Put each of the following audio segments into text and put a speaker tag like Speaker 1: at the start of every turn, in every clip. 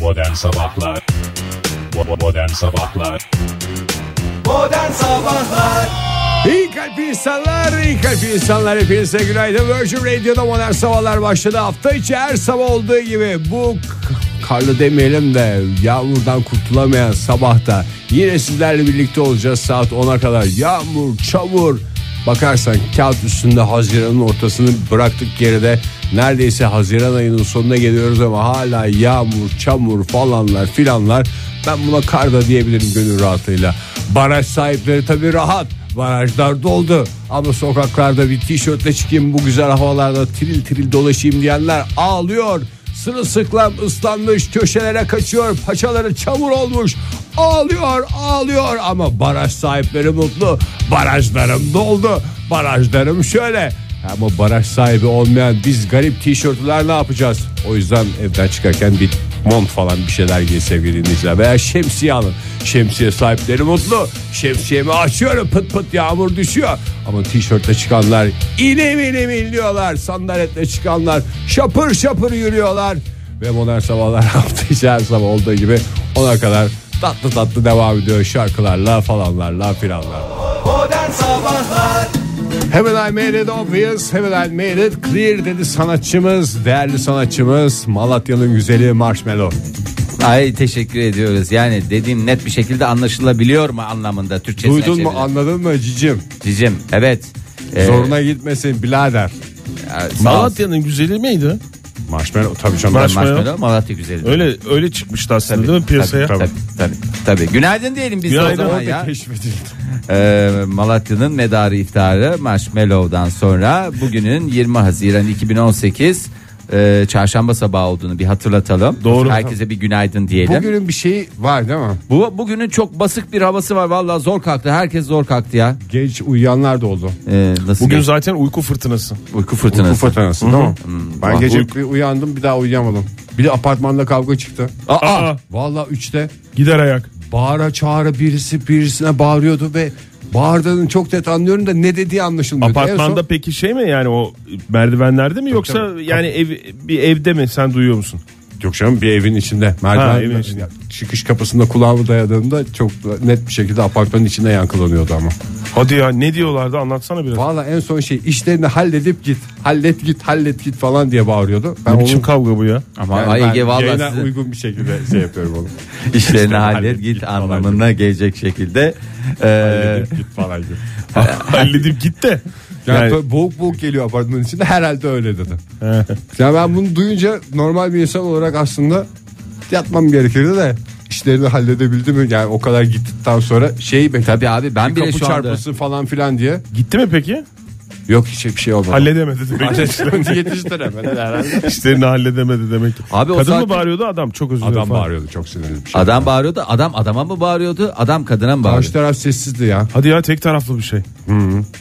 Speaker 1: Modern Sabahlar Bo- Modern Sabahlar
Speaker 2: Modern Sabahlar
Speaker 3: İyi kalp insanlar, iyi kalp insanlar hepinize günaydın. Virgin Radio'da modern sabahlar başladı. Hafta içi her sabah olduğu gibi bu k- karlı demeyelim de yağmurdan kurtulamayan sabahta yine sizlerle birlikte olacağız saat 10'a kadar. Yağmur, çamur, bakarsan kağıt üstünde Haziran'ın ortasını bıraktık geride. Neredeyse Haziran ayının sonuna geliyoruz ama hala yağmur, çamur falanlar filanlar. Ben buna kar da diyebilirim gönül rahatlığıyla. Baraj sahipleri tabii rahat. Barajlar doldu ama sokaklarda bir tişörtle çıkayım bu güzel havalarda tril tril dolaşayım diyenler ağlıyor. Sırılsıklam ıslanmış köşelere kaçıyor paçaları çamur olmuş ağlıyor ağlıyor ama baraj sahipleri mutlu barajlarım doldu barajlarım şöyle ama baraj sahibi olmayan biz garip tişörtler ne yapacağız? O yüzden evden çıkarken bir mont falan bir şeyler giy sevgili dinleyiciler. Veya şemsiye alın. Şemsiye sahipleri mutlu. Şemsiyemi açıyorum pıt pıt yağmur düşüyor. Ama tişörtle çıkanlar inim inim inliyorlar. Sandaletle çıkanlar şapır şapır yürüyorlar. Ve modern sabahlar hafta içi her sabah olduğu gibi ona kadar tatlı tatlı devam ediyor şarkılarla falanlarla filanlarla.
Speaker 2: Modern Sabahlar
Speaker 3: Haven't I made it obvious? Haven't I made it clear dedi sanatçımız, değerli sanatçımız Malatya'nın güzeli Marshmello.
Speaker 4: Ay teşekkür ediyoruz. Yani dediğim net bir şekilde anlaşılabiliyor mu anlamında Türkçesine
Speaker 3: Duydun mu
Speaker 4: çevirelim.
Speaker 3: anladın mı cicim?
Speaker 4: Cicim evet. Ee,
Speaker 3: Zoruna gitmesin birader.
Speaker 4: ya, sağ olsun.
Speaker 5: Malatya'nın güzeli miydi?
Speaker 3: Marshmello tabii canım.
Speaker 5: Marshmello.
Speaker 4: Marshmallow, Malatya güzeli.
Speaker 5: Öyle öyle çıkmıştı aslında değil mi piyasaya?
Speaker 4: Tabii, tabii, tabii. Günaydın diyelim biz
Speaker 5: Günaydın.
Speaker 4: de o zaman
Speaker 5: Orada
Speaker 4: ya.
Speaker 3: Keşfedildi.
Speaker 4: Ee, Malatya'nın medarı iftarı Marshmallow'dan sonra bugünün 20 Haziran 2018 e, çarşamba sabahı olduğunu bir hatırlatalım.
Speaker 5: Doğru.
Speaker 4: Herkese bir günaydın diyelim.
Speaker 3: Bugünün bir şeyi var değil mi?
Speaker 4: Bu bugünün çok basık bir havası var. Vallahi zor kalktı. Herkes zor kalktı ya.
Speaker 3: Genç uyuyanlar da oldu.
Speaker 4: Ee, nasıl
Speaker 5: Bugün
Speaker 4: geç-
Speaker 5: zaten uyku fırtınası.
Speaker 4: uyku
Speaker 3: Bu
Speaker 4: fırtınası.
Speaker 3: fotoğrafı değil mi? Ben
Speaker 4: Ulan
Speaker 3: gece
Speaker 5: uyku-
Speaker 3: bir uyandım bir daha uyuyamadım. Bir de apartmanda kavga çıktı.
Speaker 5: Aa,
Speaker 3: Vallahi üçte
Speaker 5: gider ayak.
Speaker 3: E, bağıra çağıra birisi birisine bağırıyordu ve bağırdığını çok net anlıyorum da ne dediği anlaşılmıyor.
Speaker 5: Apartmanda peki şey mi yani o merdivenlerde mi yoksa
Speaker 3: tabii.
Speaker 5: yani ev bir evde mi sen duyuyor musun?
Speaker 3: Yok canım bir evin içinde.
Speaker 5: Ha,
Speaker 3: Merdiven
Speaker 5: evin içinde.
Speaker 3: ya, çıkış kapısında kulağımı dayadığımda çok net bir şekilde apartmanın içinde yankılanıyordu ama.
Speaker 5: Hadi ya ne diyorlardı anlatsana biraz.
Speaker 3: Valla en son şey işlerini halledip git. Hallet git hallet git falan diye bağırıyordu. Ben
Speaker 5: Ne
Speaker 3: onu
Speaker 5: biçim kavga bu ya?
Speaker 4: Ama
Speaker 3: ben-
Speaker 4: ay
Speaker 3: ben
Speaker 4: Ege vallahi
Speaker 3: yayına
Speaker 4: sizin
Speaker 3: uygun bir şekilde şey yapıyorum onu.
Speaker 4: işlerini hallet
Speaker 3: hallet
Speaker 4: git
Speaker 3: git falan
Speaker 4: anlamına gelecek şekilde. Ee,
Speaker 3: Halledip git falan gibi.
Speaker 5: Halledip git de.
Speaker 3: Yani,
Speaker 5: Yani,
Speaker 3: böyle boğuk boğuk geliyor apartmanın içinde herhalde öyle dedi. ya ben bunu duyunca normal bir insan olarak aslında yatmam gerekirdi de işlerini halledebildim mi? Yani o kadar gittikten sonra şey bekledim.
Speaker 4: tabii abi ben bile
Speaker 3: kapı
Speaker 4: şu anda
Speaker 3: çarpması falan filan diye.
Speaker 5: gitti mi peki?
Speaker 3: Yok hiçbir şey olmadı.
Speaker 5: Halledemedi demek ki.
Speaker 3: Yetiştiremedi herhalde.
Speaker 5: İşlerini halledemedi demek ki.
Speaker 4: Abi o
Speaker 5: Kadın
Speaker 4: saatte-
Speaker 5: mı bağırıyordu adam çok özür dilerim.
Speaker 3: Adam
Speaker 5: falan.
Speaker 3: bağırıyordu çok sinirli bir şey.
Speaker 4: adam bağırıyordu. Adam adama mı bağırıyordu? Adam kadına mı
Speaker 3: Karşı
Speaker 4: bağırıyordu?
Speaker 3: taraf sessizdi ya.
Speaker 5: Hadi ya tek taraflı bir şey.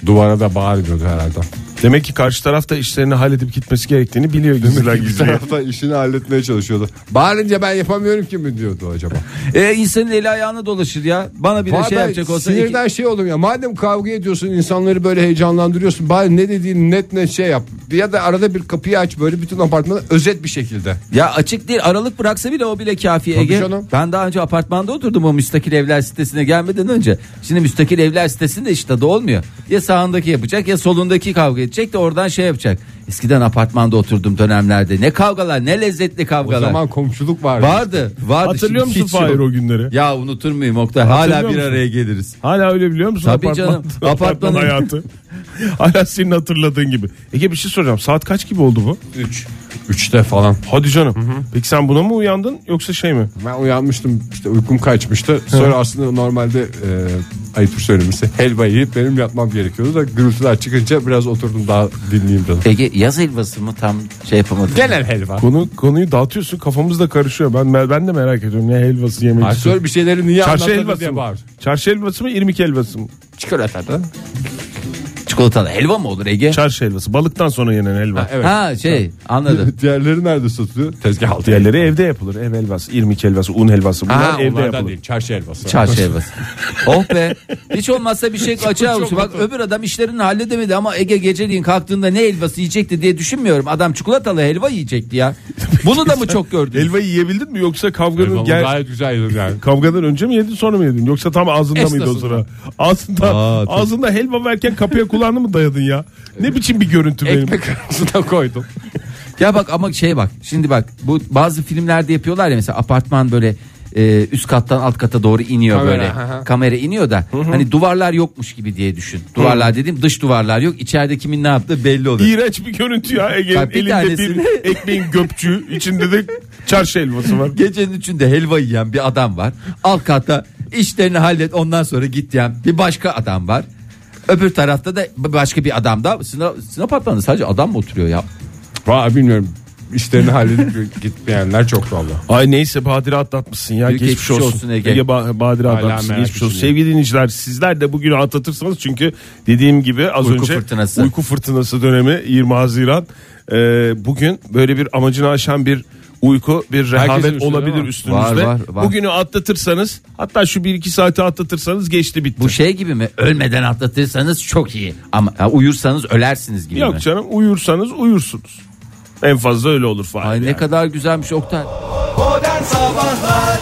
Speaker 3: Duvara da bağırıyordu herhalde.
Speaker 5: Demek ki karşı tarafta işlerini halledip gitmesi gerektiğini biliyor gizliler
Speaker 3: Bir
Speaker 5: gizliler.
Speaker 3: tarafta işini halletmeye çalışıyordu. Bağırınca ben yapamıyorum ki mi diyordu acaba.
Speaker 4: E, insanın eli ayağına dolaşır ya. Bana bir de
Speaker 3: Vallahi
Speaker 4: şey yapacak olsa iki-
Speaker 3: sinirden şey olur ya. Madem kavga ediyorsun insanları böyle heyecanlandırıyorsun. Bari ne dediğini net net şey yap. Ya da arada bir kapıyı aç böyle bütün apartmanı özet bir şekilde.
Speaker 4: ya açık değil aralık bıraksa bile o bile kafi Ege.
Speaker 3: canım.
Speaker 4: Ben daha önce apartmanda oturdum o müstakil evler sitesine gelmeden önce. Şimdi müstakil evler sitesinde hiç tadı olmuyor. Ya sağındaki yapacak ya solundaki kavga edecek de oradan şey yapacak. Eskiden apartmanda oturduğum dönemlerde ne kavgalar ne lezzetli
Speaker 3: O
Speaker 4: kavgalar.
Speaker 3: zaman komşuluk vardı.
Speaker 4: Vardı. vardı.
Speaker 5: Hatırlıyor
Speaker 4: Şimdi
Speaker 5: musun
Speaker 4: hiç yok.
Speaker 5: Fahir o günleri?
Speaker 4: Ya unutur muyum Oktay?
Speaker 5: Hatırlıyor
Speaker 4: Hala bir
Speaker 5: musun?
Speaker 4: araya geliriz.
Speaker 5: Hala öyle biliyor musun?
Speaker 4: Tabii
Speaker 5: Apartman-
Speaker 4: canım. Apartmanın-
Speaker 5: Apartman hayatı. Hala senin hatırladığın gibi. Ege bir şey soracağım. Saat kaç gibi oldu bu?
Speaker 3: 3. 3'te falan.
Speaker 5: Hadi canım. Peki sen buna mı uyandın yoksa şey mi?
Speaker 3: Ben uyanmıştım işte uykum kaçmıştı. Sonra aslında normalde e, ayıptır söylemesi helva yiyip benim yatmam gerekiyordu da gürültüler çıkınca biraz oturdum daha dinleyeyim dedim.
Speaker 4: Ege yaz helvası mı tam şey yapamadım.
Speaker 3: Genel helva.
Speaker 5: Konu konuyu dağıtıyorsun. Kafamız da karışıyor. Ben ben de merak ediyorum ne helvası yemek istiyorum.
Speaker 3: Aktör bir şeyleri niye
Speaker 5: Çarşı
Speaker 3: anlatmadı
Speaker 5: helvası
Speaker 3: diye
Speaker 5: mı?
Speaker 3: bağır.
Speaker 5: Çarşı helvası mı irmik helvası mı?
Speaker 3: Çikolatada.
Speaker 4: Çikolatalı helva mı olur Ege?
Speaker 5: Çarşı helvası. Balıktan sonra yenen helva.
Speaker 3: evet.
Speaker 4: Ha şey anladım.
Speaker 3: Diğerleri nerede satılıyor? Tezgah altı.
Speaker 5: Diğerleri evde yapılır. Ev helvası, irmik helvası, un helvası. Bunlar
Speaker 3: Ha,
Speaker 5: evde
Speaker 3: onlardan
Speaker 5: yapılır.
Speaker 3: değil. Çarşı helvası.
Speaker 4: Çarşı helvası. oh be. Hiç olmazsa bir şey açığa olsun. Bak öbür adam işlerini halledemedi ama Ege geceliğin kalktığında ne helvası yiyecekti diye düşünmüyorum. Adam çikolatalı helva yiyecekti ya. Bunu da mı çok gördün?
Speaker 5: Helvayı yiyebildin mi yoksa
Speaker 3: Helva
Speaker 5: kavganın
Speaker 3: bu
Speaker 5: gel
Speaker 3: gayet güzel yedim yani.
Speaker 5: Kavgadan önce mi yedin sonra mı yedin? Yoksa tam ağzında mıydı o
Speaker 3: Esnasında.
Speaker 5: sıra? Ağzında,
Speaker 3: Aa, tabii.
Speaker 5: ağzında helva verken kapıya kulağını mı dayadın ya? Ne biçim bir görüntü benim?
Speaker 3: Ekmek arasına koydum.
Speaker 4: Ya bak ama şey bak şimdi bak bu bazı filmlerde yapıyorlar ya mesela apartman böyle e, üst kattan alt kata doğru iniyor
Speaker 3: Kamera,
Speaker 4: böyle
Speaker 3: hı hı.
Speaker 4: kamera iniyor da hani duvarlar yokmuş gibi diye düşün. Duvarlar dediğim dış duvarlar yok içeride kimin ne yaptığı belli oluyor.
Speaker 5: İğrenç bir görüntü ya. Ege'nin
Speaker 4: Bak bir
Speaker 5: elinde
Speaker 4: tanesini-
Speaker 5: bir ekmeğin göpçüğü içinde de çarşı helvası var.
Speaker 4: Gecenin üçünde helva yiyen bir adam var. Alt katta işlerini hallet ondan sonra git diyen bir başka adam var. Öbür tarafta da başka bir adam da sınav, sınav apartmanında sadece adam mı oturuyor ya?
Speaker 3: Valla bilmiyorum. İşlerini halledip gitmeyenler çok valla.
Speaker 5: Ay neyse Badire atlatmışsın ya.
Speaker 4: Büyük
Speaker 5: geçmiş,
Speaker 4: geçmiş
Speaker 5: olsun.
Speaker 4: olsun Ege.
Speaker 5: ba- Badire
Speaker 3: Hala
Speaker 5: atlatmışsın.
Speaker 3: merak
Speaker 5: Geçmiş olsun.
Speaker 3: içinde.
Speaker 5: Sevgili dinleyiciler sizler de bugünü atlatırsanız çünkü dediğim gibi az
Speaker 4: Uyku
Speaker 5: önce
Speaker 4: fırtınası.
Speaker 5: uyku fırtınası dönemi 20 Haziran. Ee, bugün böyle bir amacını aşan bir uyku bir rehavet
Speaker 3: üstünde
Speaker 5: olabilir
Speaker 3: değil mi?
Speaker 5: üstünüzde.
Speaker 4: Var, var, var.
Speaker 5: Bugünü atlatırsanız hatta şu 1-2 saati atlatırsanız geçti bitti.
Speaker 4: Bu şey gibi mi? Ölmeden atlatırsanız çok iyi. Ama ha, uyursanız ölersiniz gibi mi?
Speaker 5: Yok canım uyursanız uyursunuz. En fazla öyle olur falan.
Speaker 4: Ay ne kadar güzelmiş Oktay.
Speaker 2: Modern Sabahlar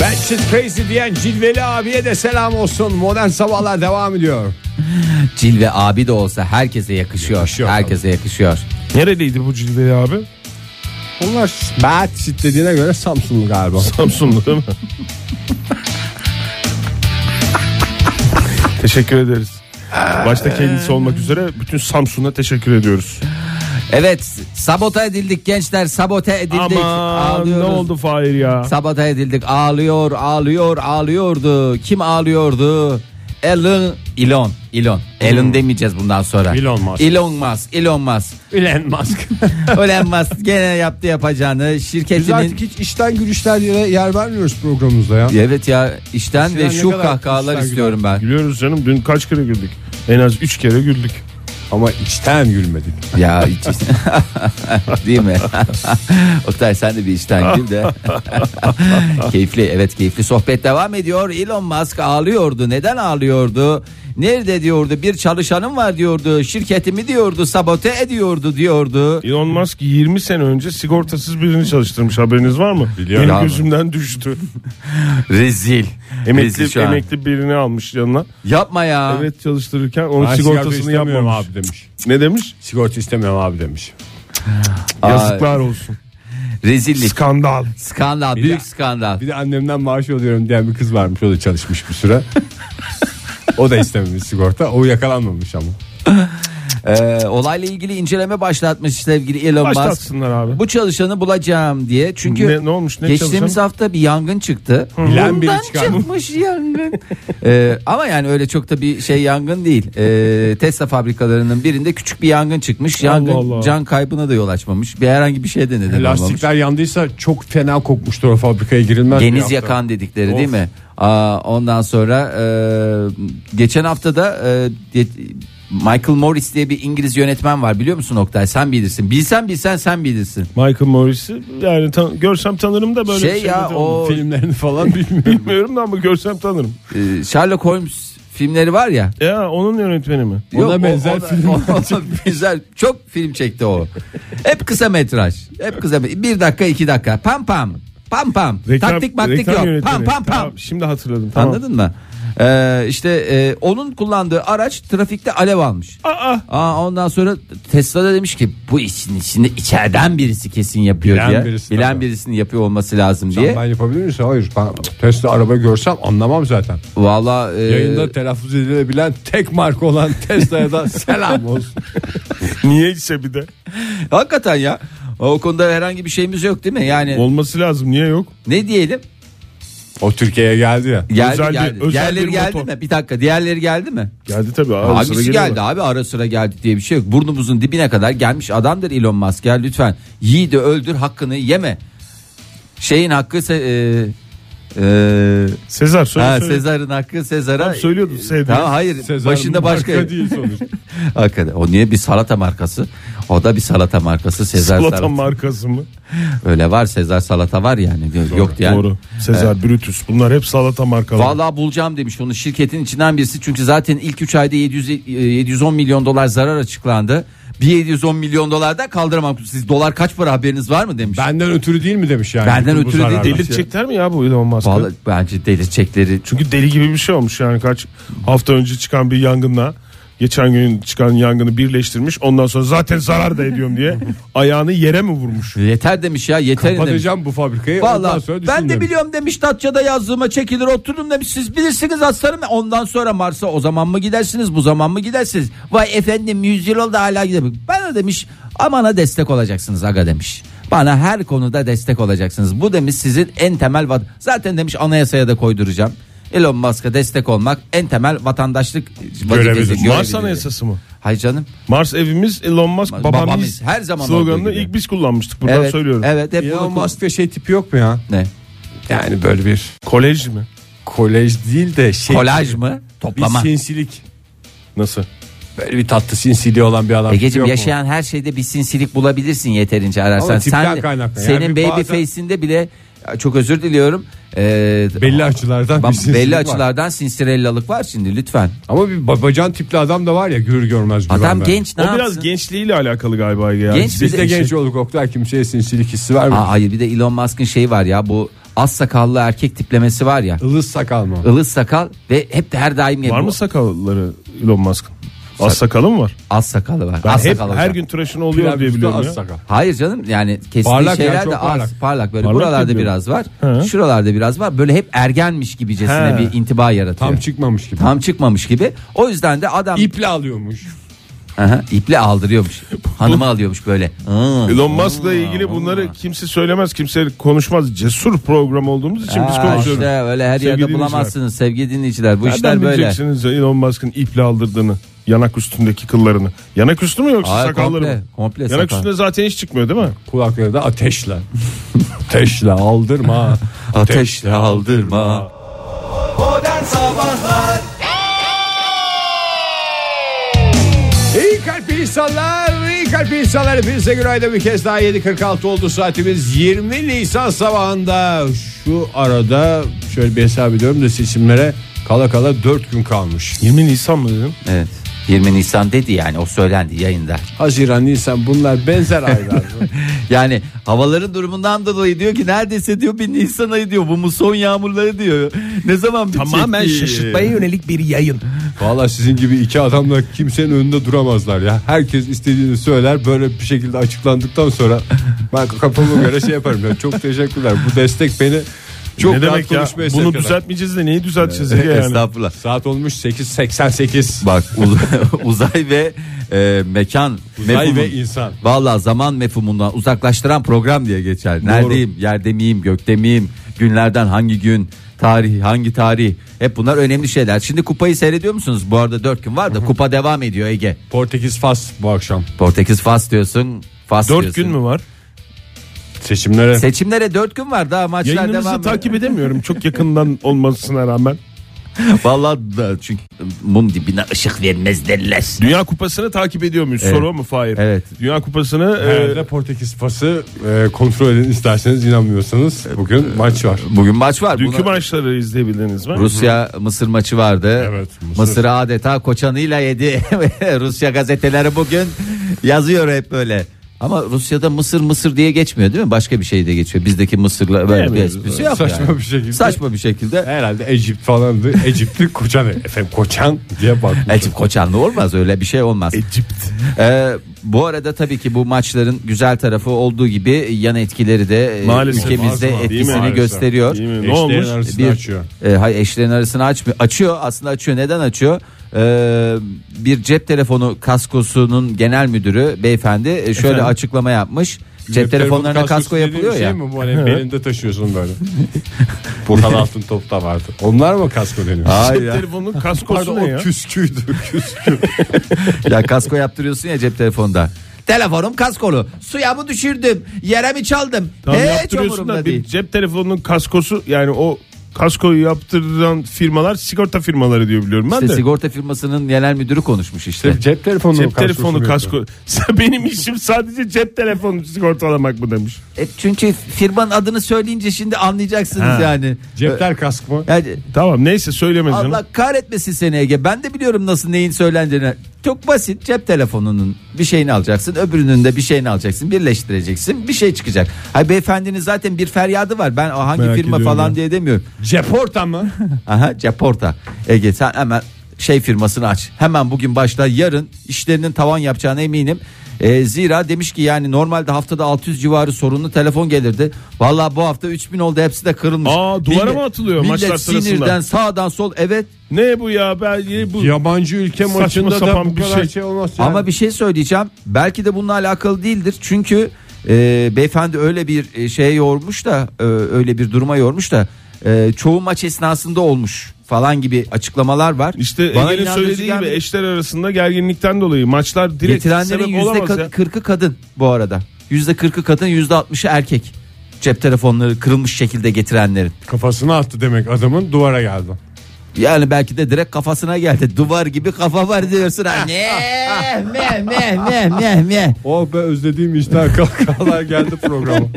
Speaker 3: Batshit Crazy diyen Cilveli abiye de selam olsun. Modern Sabahlar devam ediyor.
Speaker 4: Cilve abi de olsa herkese yakışıyor.
Speaker 3: Yakışıyor
Speaker 4: herkese yakışıyor.
Speaker 5: Nereliydi bu cilveyi abi?
Speaker 3: Bunlar Batshit dediğine göre Samsunlu galiba.
Speaker 5: Samsunlu değil mi? teşekkür ederiz.
Speaker 3: Ee.
Speaker 5: Başta kendisi olmak üzere bütün Samsun'a teşekkür ediyoruz.
Speaker 4: Evet, sabote edildik gençler, sabote edildik.
Speaker 5: Ama ne
Speaker 4: Ağlıyoruz.
Speaker 5: oldu Fahir ya?
Speaker 4: Sabote edildik. Ağlıyor, ağlıyor, ağlıyordu. Kim ağlıyordu? Elon, Elon, Elon. Elon demeyeceğiz bundan sonra.
Speaker 3: Hmm. Elon Musk.
Speaker 4: Elon Musk, Elon Musk.
Speaker 3: Elon Musk.
Speaker 4: Elon Musk gene yaptı yapacağını.
Speaker 3: Biz
Speaker 4: Şirketinin
Speaker 3: artık hiç işten gülüşler yere yer vermiyoruz programımızda ya.
Speaker 4: Evet ya işten
Speaker 3: Eskiden
Speaker 4: ve
Speaker 3: ne
Speaker 4: şu
Speaker 3: kadar
Speaker 4: kahkahalar
Speaker 3: kızlar
Speaker 4: istiyorum ben.
Speaker 5: Gülüyoruz canım dün kaç kere güldük? En az 3 kere güldük.
Speaker 3: Ama içten gülmedik.
Speaker 4: Ya hiç- değil mi? Oktay sen de bir işten gül de. keyifli evet keyifli sohbet devam ediyor. Elon Musk ağlıyordu. Neden ağlıyordu? Nerede diyordu bir çalışanım var diyordu. Şirketimi diyordu sabote ediyordu diyordu.
Speaker 5: Elon Musk 20 sene önce sigortasız birini çalıştırmış haberiniz var mı?
Speaker 3: Biliyorum.
Speaker 5: Benim
Speaker 4: Abi.
Speaker 5: gözümden düştü.
Speaker 4: Rezil. Rezil
Speaker 5: emekli
Speaker 4: şu an.
Speaker 5: emekli birini almış yanına.
Speaker 4: Yapma ya.
Speaker 5: Evet çalıştırırken onun
Speaker 3: Ben
Speaker 5: sigortasını
Speaker 3: sigorta istemiyorum
Speaker 5: yapmamış.
Speaker 3: abi demiş.
Speaker 5: Ne demiş?
Speaker 3: Sigorta istemiyorum abi demiş.
Speaker 4: Aa,
Speaker 5: Yazıklar olsun.
Speaker 4: rezillik.
Speaker 5: Skandal.
Speaker 4: Skandal büyük skandal.
Speaker 3: Bir de annemden maaş alıyorum diyen bir kız varmış. O da çalışmış bir süre. o da istememiş sigorta. O yakalanmamış ama.
Speaker 4: Ee, olayla ilgili inceleme başlatmış sevgili Elon Musk.
Speaker 5: Başlatsınlar abi.
Speaker 4: Bu çalışanı bulacağım diye. Çünkü
Speaker 5: Ne- ne olmuş, ne
Speaker 4: geçtiğimiz
Speaker 5: çalışanı?
Speaker 4: hafta bir yangın çıktı.
Speaker 3: Bilen biri
Speaker 4: Bundan
Speaker 3: çıkardı.
Speaker 4: çıkmış yangın. Ee, ama yani öyle çok da bir şey yangın değil. Ee, Tesla fabrikalarının birinde küçük bir yangın çıkmış. Yangın
Speaker 5: Allah.
Speaker 4: can kaybına da yol açmamış. Bir herhangi bir şey de neden olmamış.
Speaker 3: Lastikler yandıysa çok fena kokmuştur o fabrikaya girilmez. bir
Speaker 4: Deniz
Speaker 3: hafta.
Speaker 4: yakan dedikleri
Speaker 3: Of.
Speaker 4: değil mi? Aa, ondan sonra e, geçen hafta da e, ge- Michael Morris diye bir İngiliz yönetmen var biliyor musun Oktay? Sen bilirsin. Bilsen bilsen sen bilirsin.
Speaker 5: Michael Morris'i yani tan- görsem tanırım da böyle
Speaker 4: Şey
Speaker 5: bir şey
Speaker 4: ya,
Speaker 5: dedim.
Speaker 4: o-
Speaker 3: Filmlerini falan bilmiyorum.
Speaker 5: bilmiyorum da ama görsem tanırım.
Speaker 4: Ee, Sherlock Holmes filmleri var ya.
Speaker 5: Ya onun yönetmeni mi?
Speaker 3: Ona benzer
Speaker 4: ona-
Speaker 3: film.
Speaker 4: ona benzer çok film çekti o. Hep kısa metraj. Hep kısa me- bir dakika iki dakika. Pam pam. Pam pam.
Speaker 5: Reklam-
Speaker 4: Taktik maktik
Speaker 5: reklam
Speaker 4: yok. Pam
Speaker 5: yönetmeni.
Speaker 4: pam pam.
Speaker 5: Tamam, şimdi hatırladım. Tamam.
Speaker 4: Anladın mı? Ee, işte e, onun kullandığı araç trafikte alev almış.
Speaker 5: Aa,
Speaker 4: Aa, ondan sonra Tesla da demiş ki bu işin içinde içeriden birisi kesin yapıyor
Speaker 3: Bilen
Speaker 4: diye.
Speaker 3: birisi
Speaker 4: Bilen
Speaker 3: tabii.
Speaker 4: birisinin yapıyor olması lazım diye.
Speaker 3: Ben yapabilir miyim? Hayır. Ben Tesla araba görsem anlamam zaten.
Speaker 4: Valla e,
Speaker 3: Yayında telaffuz edilebilen tek marka olan Tesla'ya da selam olsun.
Speaker 5: niyeyse bir de.
Speaker 4: hakikaten ya. O konuda herhangi bir şeyimiz yok değil mi? Yani
Speaker 5: Olması lazım. Niye yok?
Speaker 4: ne diyelim?
Speaker 3: O Türkiye'ye geldi ya.
Speaker 4: Geldi
Speaker 5: Özel bir-
Speaker 4: geldi.
Speaker 5: özel
Speaker 4: Diğerleri
Speaker 5: bir
Speaker 4: geldi
Speaker 5: motor.
Speaker 4: mi? Bir dakika diğerleri geldi mi?
Speaker 5: Geldi tabii. Abi,
Speaker 4: Hangisi geldi abi ara sıra geldi diye bir şey yok. Burnumuzun dibine kadar gelmiş adamdır Elon Musk. Ya lütfen yiğidi öldür hakkını yeme. Şeyin hakkı ise, e, Ee,
Speaker 5: Sezar söyle.
Speaker 4: ha,
Speaker 5: söyle.
Speaker 4: Sezar'ın hakkı Sezar'a.
Speaker 5: Tam söylüyordun sevdiğin.
Speaker 4: Tamam, hayır
Speaker 5: Sezar'ın
Speaker 4: başında başka.
Speaker 5: marka değil sonuçta.
Speaker 4: Hakikaten. O niye bir salata markası? O da bir salata markası Sezar salata.
Speaker 5: Salatan markası mı?
Speaker 4: Öyle var Sezar salata var yani. Yok yani.
Speaker 5: Doğru. Sezar Brutus. Bunlar hep salata markaları.
Speaker 4: Vallahi bulacağım demiş onu şirketin içinden birisi çünkü zaten ilk 3 ayda 700, e, 710 milyon dolar zarar açıklandı. Bir 710 milyon dolar da kaldıramam. Siz dolar kaç para haberiniz var mı demiş.
Speaker 3: Benden ötürü değil mi demiş yani.
Speaker 4: Benden
Speaker 3: bu şey.
Speaker 4: ötürü
Speaker 3: zararlar.
Speaker 4: değil,
Speaker 5: Delirtecekler mi ya bu Elon Musk'ı?
Speaker 4: Vallahi bence delirecekleri çünkü
Speaker 5: Çünkü deli gibi bir şey olmuş yani kaç hafta önce çıkan bir yangınla geçen gün çıkan yangını birleştirmiş. Ondan sonra zaten zarar da ediyorum diye ayağını yere mi vurmuş?
Speaker 4: yeter demiş ya yeter demiş.
Speaker 3: Kapatacağım bu fabrikayı. ondan sonra
Speaker 4: Vallahi ben
Speaker 3: düşünürüm.
Speaker 4: de biliyorum demiş Datça'da yazdığıma çekilir otururum demiş siz bilirsiniz aslanım ondan sonra Mars'a o zaman mı gidersiniz bu zaman mı gidersiniz vay efendim 100 yıl oldu hala gidemiyorum bana demiş amana destek olacaksınız aga demiş bana her konuda destek olacaksınız bu demiş sizin en temel vat zaten demiş anayasaya da koyduracağım Elon Musk'a destek olmak en temel vatandaşlık vazifesi.
Speaker 5: Göremedim. Mars
Speaker 4: görevidir.
Speaker 5: anayasası mı?
Speaker 4: Hay canım.
Speaker 5: Mars evimiz Elon Musk
Speaker 4: Babam
Speaker 5: babam,
Speaker 4: biz.
Speaker 5: biz.
Speaker 4: Her zaman olduğu
Speaker 5: sloganını
Speaker 4: gibi.
Speaker 5: ilk biz kullanmıştık. Buradan
Speaker 4: evet,
Speaker 5: söylüyorum.
Speaker 4: Evet hep
Speaker 3: Elon
Speaker 4: bunu-
Speaker 3: Musk'ta şey tipi yok mu ya?
Speaker 4: Ne?
Speaker 3: Yani böyle bir
Speaker 5: Kolej mi?
Speaker 3: kolej değil de şey.
Speaker 4: Kolaj mı?
Speaker 3: Bir
Speaker 4: Toplama.
Speaker 3: sinsilik.
Speaker 5: Nasıl?
Speaker 3: Böyle bir tatlı sinsiliği olan bir adam. tipi
Speaker 4: Egeciğim
Speaker 3: yok mu?
Speaker 4: yaşayan her şeyde bir sinsilik bulabilirsin yeterince ararsan.
Speaker 3: Ama tipten
Speaker 4: Sen
Speaker 3: kaynaklı. Yani
Speaker 4: senin
Speaker 3: bir
Speaker 4: baby
Speaker 3: bazen-
Speaker 4: face'inde bile çok özür diliyorum. Ee,
Speaker 3: Belli açılardan
Speaker 4: bam-
Speaker 3: bir sinsilik
Speaker 4: belli
Speaker 3: var.
Speaker 4: açılardan sinsirellalık var şimdi lütfen.
Speaker 3: Ama bir babacan tipli adam da var ya görür görmez güven
Speaker 4: Adam
Speaker 3: ver.
Speaker 4: genç ne
Speaker 5: o
Speaker 4: yapsın?
Speaker 5: biraz gençliğiyle alakalı galiba ya.
Speaker 4: Genç
Speaker 3: Biz
Speaker 4: bize
Speaker 3: de
Speaker 4: bir şey-
Speaker 3: genç olduk Oktay kimseye sinsilik hissi vermiyor.
Speaker 4: Aa, hayır bir de Elon Musk'ın şeyi var ya bu az sakallı erkek tiplemesi var ya.
Speaker 3: Ilız sakal mı?
Speaker 4: Ilız sakal ve hep de her daim
Speaker 5: Var
Speaker 4: bu-
Speaker 5: mı sakalları Elon Musk'ın? Az sakalı mı var?
Speaker 4: Az sakalı var.
Speaker 5: Ben
Speaker 4: az
Speaker 5: hep
Speaker 4: sakal
Speaker 5: her
Speaker 4: hocam.
Speaker 5: gün tıraşını oluyor diye biliyorum
Speaker 3: Az
Speaker 5: ya.
Speaker 3: sakal.
Speaker 4: Hayır canım yani kestiği
Speaker 3: Parlak ya,
Speaker 4: şeyler
Speaker 3: çok
Speaker 4: de az
Speaker 3: parlak.
Speaker 4: parlak, böyle
Speaker 5: Parlak
Speaker 4: buralarda
Speaker 5: diyor.
Speaker 4: biraz var.
Speaker 5: He.
Speaker 4: Şuralarda biraz var. Böyle hep ergenmiş gibicesine
Speaker 5: He.
Speaker 4: bir intiba yaratıyor.
Speaker 3: Tam çıkmamış gibi.
Speaker 4: Tam çıkmamış gibi. O yüzden de adam
Speaker 3: İple alıyormuş.
Speaker 4: Aha, iple aldırıyormuş. Hanımı alıyormuş böyle. Hı.
Speaker 5: Elon Musk'la ilgili bunları kimse söylemez, kimse konuşmaz. Cesur program olduğumuz için biz
Speaker 4: Aa,
Speaker 5: konuşuyoruz.
Speaker 4: işte öyle her
Speaker 5: Sevgili
Speaker 4: yerde
Speaker 5: dinleyiciler.
Speaker 4: bulamazsınız sevgili dinleyiciler. Bu işler
Speaker 5: Nereden
Speaker 4: böyle.
Speaker 5: bileceksiniz Elon Musk'ın iple aldırdığını, yanak üstündeki kıllarını? Yanak üstü mü yoksa
Speaker 4: Hayır,
Speaker 5: sakalları
Speaker 4: komple,
Speaker 5: mı?
Speaker 4: komple
Speaker 5: Yanak
Speaker 4: sakal.
Speaker 5: üstünde zaten hiç çıkmıyor değil mi?
Speaker 3: Kulakları da ateşle. ateşle aldırma.
Speaker 4: Ateşle aldırma.
Speaker 2: Modern Sabahlar
Speaker 3: İyi kalp insanlar, iyi kalp insanlar. Hepinize günaydın bir kez daha 7.46 oldu saatimiz. 20 Nisan sabahında şu arada şöyle bir hesap ediyorum da seçimlere kala kala 4 gün kalmış.
Speaker 5: 20 Nisan mı dedim?
Speaker 4: Evet. 20 Nisan dedi yani o söylendi yayında.
Speaker 3: Haziran, Nisan bunlar benzer aylar.
Speaker 4: Yani havaların durumundan dolayı diyor ki neredeyse diyor bir Nisan ayı diyor bu muson yağmurları diyor. Ne zaman bitecek diye.
Speaker 5: yönelik bir yayın.
Speaker 3: Valla sizin gibi iki adamla kimsenin önünde duramazlar ya. Herkes istediğini söyler böyle bir şekilde açıklandıktan sonra ben kafama göre şey yaparım. Ya. Çok teşekkürler bu destek beni çok
Speaker 5: ne
Speaker 3: rahat
Speaker 5: demek ya?
Speaker 3: konuşmaya sevk
Speaker 5: Bunu
Speaker 3: eder.
Speaker 5: düzeltmeyeceğiz de neyi düzelteceğiz Ege yani?
Speaker 4: Estağfurullah.
Speaker 3: Saat olmuş 8.88.
Speaker 4: Bak uz- uzay ve e, mekan
Speaker 3: Uzay ve
Speaker 4: mefhumu-
Speaker 3: insan.
Speaker 4: Valla zaman mefhumundan uzaklaştıran program diye geçer. Neredeyim, yerde miyim, gökte miyim, günlerden hangi gün, tarih hangi tarih. Hep bunlar önemli şeyler. Şimdi kupayı seyrediyor musunuz? Bu arada 4 gün var da kupa devam ediyor Ege.
Speaker 3: Portekiz Fas bu akşam
Speaker 4: Portekiz Fas diyorsun. Fas
Speaker 5: 4
Speaker 4: diyorsun.
Speaker 5: gün mü var?
Speaker 3: seçimlere.
Speaker 4: Seçimlere 4 gün var daha maçlar devam
Speaker 5: Yayınımızı
Speaker 4: ediyor.
Speaker 5: takip edemiyorum çok yakından olmasına rağmen.
Speaker 4: Valla da çünkü mum dibine ışık vermez derler.
Speaker 5: Dünya Kupası'nı takip ediyor muyuz? Soru mu Fahir?
Speaker 4: Evet.
Speaker 5: Dünya Kupası'nı e,
Speaker 3: Herhalde Portekiz Fas'ı e, kontrol edin isterseniz inanmıyorsanız. Bugün maç var.
Speaker 4: Bugün maç var.
Speaker 5: e, dünkü
Speaker 4: Buna-
Speaker 5: maçları izleyebildiniz mi?
Speaker 4: Rusya Mısır maçı vardı.
Speaker 5: Evet, Mısır.
Speaker 4: Mısır. Mısır'ı adeta koçanıyla yedi. Rusya gazeteleri bugün yazıyor hep böyle. Ama Rusya'da Mısır Mısır diye geçmiyor değil mi? Başka bir şey de geçiyor. Bizdeki Mısır'la böyle bir
Speaker 5: Bilemiyoruz.
Speaker 4: esprisi yok
Speaker 3: Saçma
Speaker 4: yani.
Speaker 3: bir şekilde.
Speaker 5: şey.
Speaker 4: Saçma bir şekilde.
Speaker 3: Herhalde Ecip falandı. Ecip'li koçan. Efendim koçan diye bakmış.
Speaker 4: Elçip koçanlı E, olmaz öyle bir şey
Speaker 5: E,
Speaker 4: olmaz.
Speaker 5: Cipt.
Speaker 4: Ee, bu arada tabii ki bu maçların güzel tarafı olduğu gibi yan etkileri de e,
Speaker 5: Maalesef.
Speaker 4: ülkemizde
Speaker 5: Maalesef. Değil mi?
Speaker 4: etkisini
Speaker 5: Maalesef.
Speaker 4: gösteriyor.
Speaker 5: Değil mi? Ne
Speaker 3: Eşlerin
Speaker 5: olmuş?
Speaker 3: arasını
Speaker 4: bir
Speaker 3: açıyor.
Speaker 4: e, hayır, eşlerin arasını açmıyor. Açıyor aslında açıyor. Neden açıyor? Ee, bir cep telefonu kaskosunun genel müdürü beyefendi e, şöyle açıklama yapmış. Cep, telefonlarına
Speaker 3: telefonu
Speaker 4: kasko
Speaker 3: kaskosu dediğim
Speaker 4: yapılıyor
Speaker 3: şey
Speaker 4: ya.
Speaker 3: mi bu hani belinde taşıyorsun böyle. Burhan Altın Top'ta vardı. Onlar mı kasko deniyor?
Speaker 4: Hayır
Speaker 5: Cep
Speaker 4: ya.
Speaker 5: telefonunun kaskosu
Speaker 3: Pardon
Speaker 5: ne
Speaker 3: o
Speaker 5: ya?
Speaker 3: küsküydü. Küskü.
Speaker 4: ya kasko yaptırıyorsun ya cep telefonda. Telefonum kaskolu. Suya mı düşürdüm? Yere mi çaldım?
Speaker 5: Tamam
Speaker 4: Hiç
Speaker 5: yaptırıyorsun
Speaker 4: umurumda
Speaker 5: da bir
Speaker 4: değil.
Speaker 5: cep telefonunun kaskosu yani o kaskoyu yaptıran firmalar sigorta firmaları diyor biliyorum ben
Speaker 4: İşte
Speaker 5: de.
Speaker 4: sigorta firmasının genel müdürü konuşmuş işte.
Speaker 3: Cep telefonu
Speaker 5: Cep telefonu
Speaker 3: kasko.
Speaker 5: kasko. Benim işim sadece cep telefonu sigortalamak mı demiş.
Speaker 4: E, çünkü firmanın adını söyleyince şimdi anlayacaksınız
Speaker 5: Ha.
Speaker 4: yani.
Speaker 3: Cepler kask mı?
Speaker 4: Yani
Speaker 5: Tamam neyse söylemez canım.
Speaker 4: Allah kahretmesin seni Ege. Ben de biliyorum nasıl neyin söylendiğini. Çok basit cep telefonunun bir şeyini alacaksın öbürünün de bir şeyini alacaksın birleştireceksin bir şey çıkacak. Hay beyefendinin zaten bir feryadı var ben o hangi
Speaker 5: Merak
Speaker 4: firma
Speaker 5: ediyorum
Speaker 4: falan
Speaker 5: ya.
Speaker 4: diye demiyorum.
Speaker 3: Ceporta mı?
Speaker 4: Aha Ceporta. Ege sen hemen şey firmasını aç. Hemen bugün başla yarın işlerinin tavan yapacağına eminim. Ee, zira demiş ki yani normalde haftada 600 civarı sorunlu telefon gelirdi. Vallahi bu hafta 3000 oldu hepsi de kırılmış.
Speaker 5: Aa, duvara mı atılıyor
Speaker 4: millet
Speaker 5: maçlar sırasında?
Speaker 4: sinirden sağdan sol evet
Speaker 5: Ne bu ya ben bu
Speaker 3: Yabancı ülke
Speaker 5: Saçma
Speaker 3: maçında da
Speaker 5: sapan
Speaker 3: bu
Speaker 5: bir
Speaker 3: kadar şey,
Speaker 5: şey.
Speaker 3: olmaz.
Speaker 4: Ama bir şey söyleyeceğim. Belki de bununla alakalı değildir. Çünkü e, beyefendi öyle bir e, şeye yormuş da e, öyle bir duruma yormuş da e, çoğu maç esnasında olmuş falan gibi açıklamalar var.
Speaker 5: İşte
Speaker 4: Bana
Speaker 5: Ege'nin
Speaker 4: inandırıcı
Speaker 5: söylediği gibi
Speaker 4: gelmedi.
Speaker 5: eşler arasında gerginlikten dolayı maçlar direkt
Speaker 4: getirenlerin
Speaker 5: sebep
Speaker 4: yüzde
Speaker 5: olamaz
Speaker 4: kırk-
Speaker 5: ya.
Speaker 4: kırkı kadın bu arada. Yüzde kırkı kadın yüzde altmışı erkek. Cep telefonları kırılmış şekilde getirenlerin.
Speaker 3: Kafasını attı demek adamın duvara geldi.
Speaker 4: Yani belki de direkt kafasına geldi. Duvar gibi kafa var diyorsun. ha. Ne? Meh meh meh meh meh.
Speaker 3: Oh be özlediğim işte kalkalar geldi programı.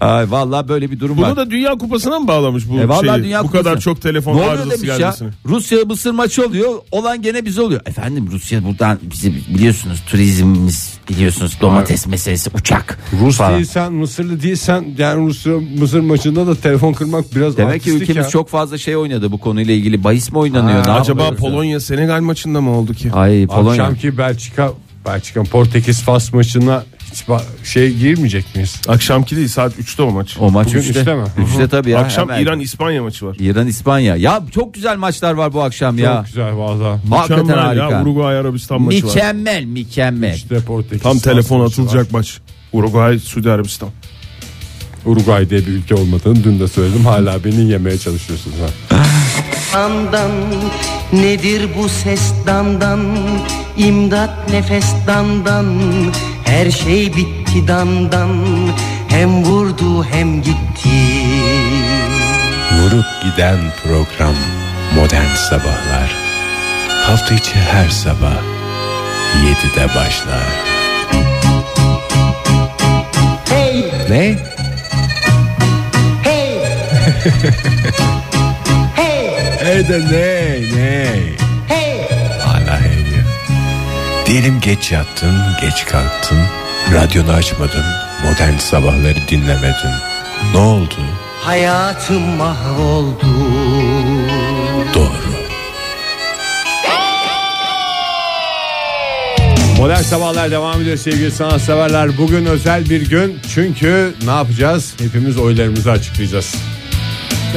Speaker 4: Ay vallahi böyle bir durum var.
Speaker 5: Bunu da Dünya Kupası'na mı bağlamış bu
Speaker 4: E vallahi
Speaker 5: şeyi?
Speaker 4: Dünya
Speaker 5: bu
Speaker 4: Kupası.
Speaker 5: kadar çok telefon
Speaker 4: Ne oluyor
Speaker 5: arızası
Speaker 4: demiş ya?
Speaker 5: gelmesini.
Speaker 4: Rusya Mısır maçı oluyor. Olan gene bize oluyor. Efendim Rusya buradan bizi biliyorsunuz turizmimiz biliyorsunuz domates meselesi uçak.
Speaker 3: Rus
Speaker 4: falan.
Speaker 3: değilsen Mısırlı değilsen yani Rusya Mısır maçında da telefon kırmak biraz
Speaker 4: Demek ki
Speaker 3: artistlik
Speaker 4: ülkemiz
Speaker 3: ya.
Speaker 4: çok fazla şey oynadı bu konuyla ilgili. Bahis mi oynanıyor? ne
Speaker 5: Acaba
Speaker 4: yapılıyor?
Speaker 5: Polonya Senegal maçında mı oldu ki?
Speaker 4: Ay Polonya.
Speaker 3: Akşamki Belçika Belçika Portekiz Fas maçına hiç ba- şey girmeyecek miyiz?
Speaker 5: Akşamki değil saat 3'te o maç.
Speaker 4: O maç
Speaker 3: Bugün
Speaker 4: 3'te.
Speaker 3: üçte mi?
Speaker 4: 3'te tabii ya.
Speaker 5: Akşam
Speaker 4: hemen.
Speaker 5: İran İspanya maçı var.
Speaker 4: İran İspanya. Ya çok güzel maçlar var bu akşam ya.
Speaker 3: Çok güzel valla.
Speaker 4: Hakikaten
Speaker 5: Mükemmel
Speaker 4: harika.
Speaker 5: ya Uruguay Arabistan maçı var.
Speaker 4: mükemmel mükemmel.
Speaker 3: İşte Portekiz.
Speaker 5: Tam
Speaker 3: Fas
Speaker 5: telefon
Speaker 3: maçı var.
Speaker 5: atılacak maç. Uruguay Suudi Arabistan.
Speaker 3: Uruguay diye bir ülke olmadığını dün de söyledim. Hala beni yemeye çalışıyorsunuz. Ha.
Speaker 6: Andan nedir bu ses dandan İmdat nefes dandan Her şey bitti dandan Hem vurdu hem gitti
Speaker 7: Vurup giden program Modern Sabahlar Hafta içi her sabah 7'de başlar
Speaker 6: Hey
Speaker 7: Ne?
Speaker 6: hey Hey
Speaker 7: E de ne ne?
Speaker 6: hey
Speaker 7: Hala heyecan Diyelim geç yattın geç kalktın Radyonu açmadın Modern Sabahları dinlemedin Ne oldu?
Speaker 6: Hayatım mahvoldu
Speaker 7: Doğru
Speaker 3: Modern Sabahlar devam ediyor sevgili sanatseverler. Bugün özel bir gün çünkü ne yapacağız? Hepimiz oylarımızı açıklayacağız.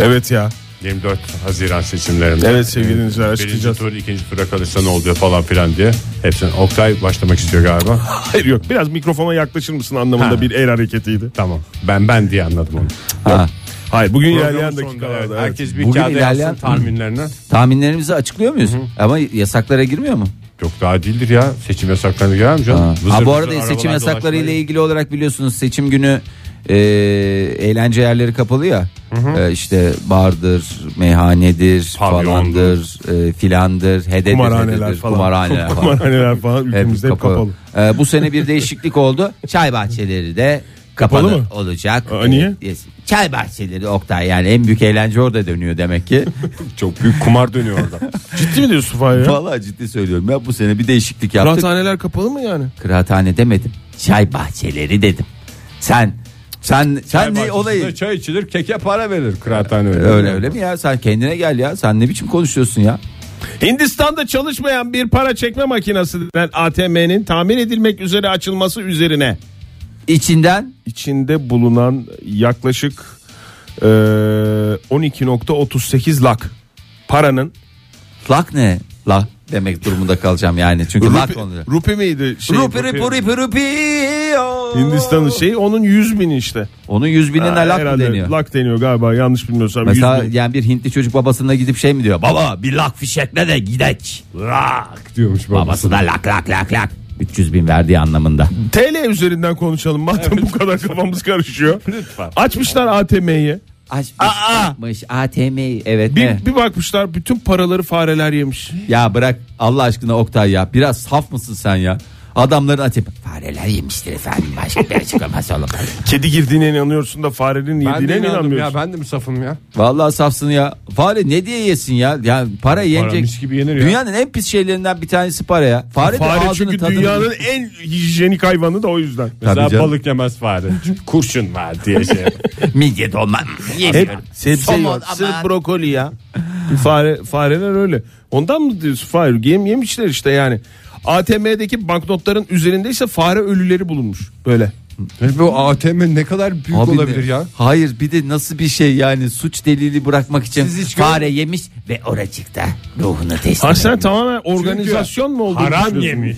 Speaker 5: Evet ya.
Speaker 3: 24 Haziran seçimlerinde.
Speaker 5: Evet sevgili dinleyiciler
Speaker 3: Birinci
Speaker 5: açıklayacağız.
Speaker 3: tur, ikinci tura kalırsa ne oluyor falan filan diye. Hepsini Oktay başlamak istiyor galiba.
Speaker 5: Hayır yok biraz mikrofona yaklaşır mısın anlamında
Speaker 3: Ha.
Speaker 5: bir el hareketiydi.
Speaker 3: tamam. Ben ben diye anladım onu.
Speaker 4: Ha,
Speaker 5: Hayır bugün ilerleyen
Speaker 3: Programın sonunda evet,
Speaker 5: dakikalarda. evet.
Speaker 3: Herkes bir
Speaker 4: Bugün
Speaker 3: kağıda
Speaker 4: ilerleyen-
Speaker 3: yazsın tahminlerini.
Speaker 4: tahminlerimizi açıklıyor muyuz? Ama yasaklara girmiyor mu?
Speaker 3: Yok daha değildir ya. Seçim yasaklarını girer mi canım?
Speaker 4: Ha.
Speaker 3: Vızır
Speaker 4: Ha, bu
Speaker 3: vızır
Speaker 4: arada seçim
Speaker 3: arabalar
Speaker 4: yasakları ile
Speaker 3: dolaşmayın.
Speaker 4: ilgili olarak biliyorsunuz seçim günü e, eğlence yerleri kapalı ya. E, işte bardır, meyhanedir,
Speaker 3: Pavyondur.
Speaker 4: falandır, e, filandır, hededir,
Speaker 5: Kumarhaneler
Speaker 4: hededir,
Speaker 5: falan.
Speaker 4: kumarhaneler falan.
Speaker 5: Kumarhaneler falan ülkemizde hep
Speaker 4: Hep kapalı.
Speaker 5: kapalı.
Speaker 4: E, bu sene bir değişiklik oldu. Çay bahçeleri de kapalı,
Speaker 5: Kapalı mı?
Speaker 4: olacak.
Speaker 5: Aa, niye?
Speaker 4: E, yes. Çay bahçeleri Oktay yani en büyük eğlence orada dönüyor demek ki.
Speaker 3: Çok büyük kumar dönüyor orada.
Speaker 5: Ciddi mi diyorsun Fahir ya?
Speaker 4: Vallahi ciddi söylüyorum ya bu sene bir değişiklik yaptık.
Speaker 5: Rahathaneler kapalı mı yani?
Speaker 4: Kıraathane demedim. Çay bahçeleri dedim. Sen sen sen ne
Speaker 3: Bahçesinde
Speaker 4: olayı
Speaker 3: Çay içilir keke para verir kıraathane öyle.
Speaker 4: öyle öyle mi ya? Sen kendine gel ya. Sen ne biçim konuşuyorsun ya?
Speaker 5: Hindistan'da çalışmayan bir para çekme makinesinden ATM'nin tamir edilmek üzere açılması üzerine
Speaker 4: İçinden
Speaker 5: içinde bulunan yaklaşık e, 12.38 lak paranın
Speaker 4: lak ne? Lak demek durumunda kalacağım yani. Çünkü lak onları.
Speaker 5: rupi miydi? Şey,
Speaker 4: Rupi rupi rupi rupi. oo.
Speaker 5: Hindistan'ın şeyi onun 100 bini işte.
Speaker 4: Onun yüz binine
Speaker 5: Ha,
Speaker 4: lak mı
Speaker 5: herhalde
Speaker 4: deniyor?
Speaker 5: Lak deniyor galiba yanlış bilmiyorsam.
Speaker 4: Mesela
Speaker 5: 100 bin.
Speaker 4: yani bir Hintli çocuk babasına gidip şey mi diyor? Baba bir lak fişekle de gidek. Lak.
Speaker 3: Diyormuş babası.
Speaker 4: Babası da lak lak lak lak. 300 bin verdiği anlamında.
Speaker 5: TL üzerinden konuşalım madem bu kadar kafamız karışıyor. Lütfen. Açmışlar ATM'yi.
Speaker 4: Açmış, yapmış, ATM. Evet. ne?
Speaker 5: Bir, bir bakmışlar bütün paraları fareler yemiş.
Speaker 4: Ya bırak Allah aşkına Oktay ya. Biraz saf mısın sen ya? Adamların atıp fareler yemiştir efendim başka bir açıklaması olamaz.
Speaker 5: Kedi girdiğine inanıyorsun da farenin
Speaker 3: Ben
Speaker 5: yediğine
Speaker 3: de
Speaker 5: mi
Speaker 3: inandım ya
Speaker 5: inanmıyorsun?
Speaker 3: ben de mi safım ya?
Speaker 4: Vallahi safsın ya. Fare ne diye yesin ya? Yani para yenecek.
Speaker 3: mis gibi yenir ya.
Speaker 4: Dünyanın en pis şeylerinden bir tanesi para ya. Fare, de
Speaker 5: Fare
Speaker 4: ağzını
Speaker 5: çünkü
Speaker 4: tadını-
Speaker 5: dünyanın en hijyenik hayvanı da o yüzden.
Speaker 3: Mesela
Speaker 4: canım.
Speaker 3: balık yemez fare. Çünkü kurşun var diye şey. yapar.
Speaker 4: midye dolman.
Speaker 5: Hep sebze yiyor. Sırf brokoli ya. Fare, fareler öyle. Ondan mı diyorsun? Fare yem yemişler işte yani. ATM'deki banknotların üzerindeyse fare ölüleri bulunmuş. Böyle.
Speaker 3: Ve bu ATM ne kadar büyük
Speaker 4: Abi
Speaker 3: olabilir
Speaker 4: ne-
Speaker 3: ya?
Speaker 4: Hayır bir de nasıl bir şey yani suç delili bırakmak için
Speaker 3: Siz hiç
Speaker 4: fare yemiş ve oracıkta ruhunu teslim
Speaker 5: Aslında
Speaker 4: etmiş.
Speaker 5: tamamen organizasyon mu oldu?
Speaker 3: Haram yemiş.